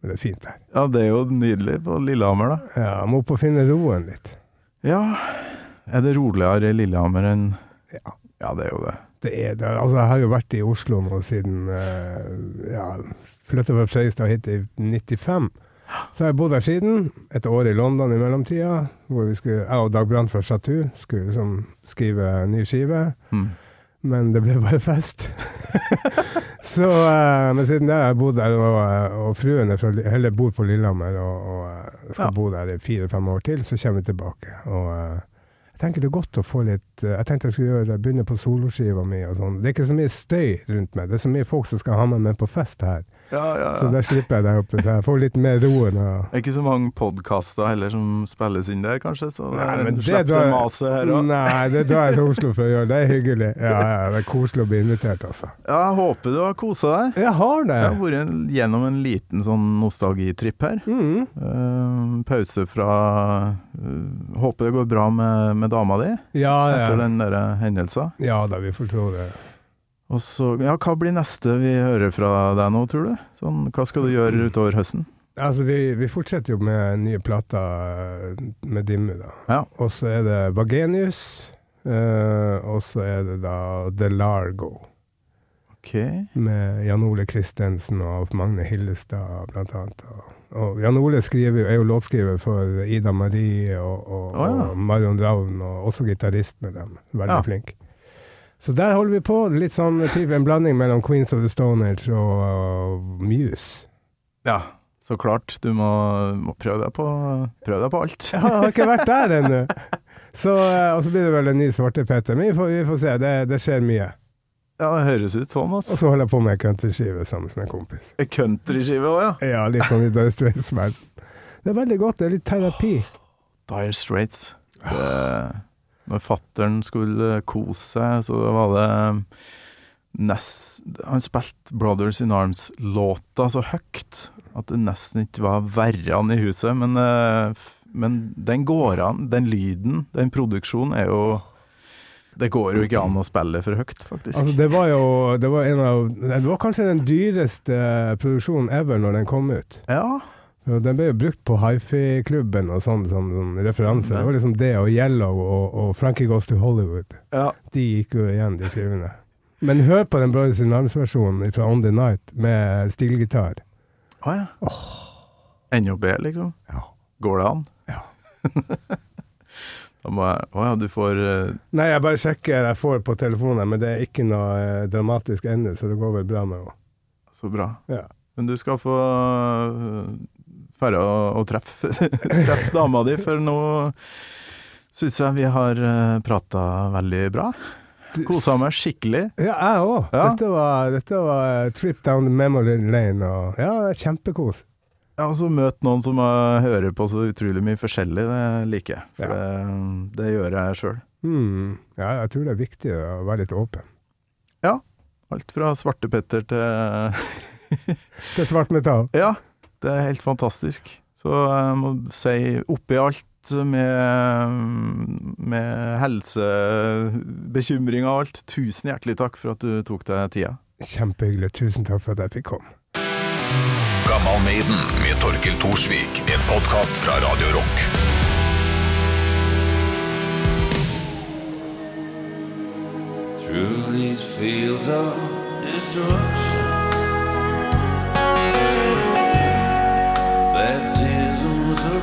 S2: men det er fint der.
S3: Ja, det er jo nydelig på Lillehammer, da.
S2: Ja, jeg må opp og finne roen litt.
S3: Ja, er det roligere i Lillehammer enn
S2: Ja.
S3: Ja, det er jo det.
S2: Det er det. Altså, jeg har jo vært i Oslo nå siden eh, ja, flytta fra Fredrikstad hit i 95. Så har jeg bodd her siden. Et år i London i mellomtida, hvor vi skulle, jeg og Dag Brandt fra Chateau skulle liksom skrive en ny skive.
S3: Mm.
S2: men det ble bare fest. så, eh, men siden det har jeg bodd der, og, eh, og fruen er fra, Li- eller bor på Lillehammer og, og eh, skal
S3: Ja.
S2: bo der i fire-fem år til, så kommer vi tilbake. Og eh, jeg tenker det er godt å få litt eh, Jeg tenkte jeg skulle gjøre, begynne på soloskiva mi og sånn. Det er ikke så mye støy rundt meg. Det er så mye folk som skal ha meg med på fest her.
S3: Ja, ja,
S2: Så
S3: ja.
S2: der slipper jeg der oppe. Så jeg får litt mer ro enn å
S3: Det er ikke så mange podkaster heller som spilles inn der, kanskje, så det
S2: Nei,
S3: er
S2: men
S3: en
S2: det
S3: slapp
S2: drar-
S3: til maset her òg.
S2: Nei, det drar jeg til Oslo for å gjøre. Det er hyggelig. Ja, ja, det er koselig å bli invitert, altså.
S3: Ja, jeg håper du har kosa deg.
S2: Jeg har det.
S3: Jeg har vært en- gjennom en liten sånn nostalgitripp her.
S2: Mm.
S3: Eh, pause fra eh, Håper det går bra med, med dama di
S2: Ja,
S3: etter
S2: ja.
S3: den der hendelsen.
S2: ja da, vi får tro det.
S3: Og så, ja, hva blir neste vi hører fra deg nå, tror du? Sånn, hva skal du gjøre utover høsten?
S2: Altså, vi, vi fortsetter jo med nye plater eh, med Dimmu, da.
S3: Ja.
S2: Og så er det Vagenius. eh, og så er det da The Largo,
S3: Ok.
S2: med Jan Ole Christensen og Alf Magne Hillestad, blant annet. Og, og Jan Ole skriver, jo- er jo låtskriver for Ida Marie og, og,
S3: Å, ja.
S2: og Marion Ravn, og også gitarist med dem. Veldig
S3: Ja.
S2: flink. Så der holder vi på. Litt sånn type en blanding mellom Queens of the Stone Age og uh, Muse.
S3: Ja, så klart. Du må, må prøve deg på, prøve deg på alt.
S2: Jeg har ikke vært der ennå! Så, eh, og så blir det vel en ny Svartepetter. Men vi får, vi får se. Det, det skjer mye.
S3: Ja, det høres ut sånn,
S2: Og
S3: altså.
S2: så holder jeg på med countryskive sammen med en kompis.
S3: Countryskive òg, ja.
S2: Ja, litt sånn i Dire Straits-verden. Det er veldig godt. Det er litt terapi.
S3: Dire Straits. Det, når fattern skulle kose seg, så var det nest, Han spilte Brothers in Arms-låta så høyt at det nesten ikke var verrene i huset. Men, eh, f- men den går an. Den lyden, den produksjonen, er jo Det går jo ikke an å spille for høyt, faktisk.
S2: Altså, det var jo det var en av Det var kanskje den dyreste eh, produksjonen ever når den kom ut.
S3: ja.
S2: Og Den ble jo brukt på hifi-klubben og sånn som sånn, referanse. Det var liksom det og Yellow og, og Frankie Goes to Hollywood.
S3: ja.
S2: De gikk jo igjen, de skivene. Men hør på den Brothers in Arms-versjonen fra On The Night med stilgitar.
S3: Å ja. Enda bedre, liksom.
S2: Ja.
S3: Går det an?
S2: Ja.
S3: da må jeg Å ja, du får eh,
S2: Nei, jeg bare sjekker jeg får på telefonen, men det er ikke noe eh, dramatisk ennå, så det går vel bra med henne.
S3: Så bra.
S2: Ja.
S3: Men du skal få dra og, og treffe, treffe dama di, for nå syns jeg vi har prata veldig bra.
S2: Du-
S3: Kosa meg skikkelig.
S2: Ja, jeg òg.
S3: Ja.
S2: Dette, var- dette var eh, trip down the memory lane. Og, ja, det er kjempekos.
S3: Jeg har også møtt noen som eh, hører på så utrolig mye forskjellig. Det liker jeg. For det, det gjør jeg sjøl.
S2: Hmm. Ja, jeg tror det er viktig å være litt åpen.
S3: Alt fra Svartepetter til
S2: Til svart metall.
S3: Ja, det er helt fantastisk. Så jeg må si oppi alt med, med helsebekymringer og alt, tusen hjertelig takk for at du tok deg tida.
S2: Kjempehyggelig. Tusen takk for at jeg fikk komme.
S6: Gammal Maiden med Torkel Thorsvik. En podkast fra Radio Rock.
S4: Through these fields of destruction, baptisms of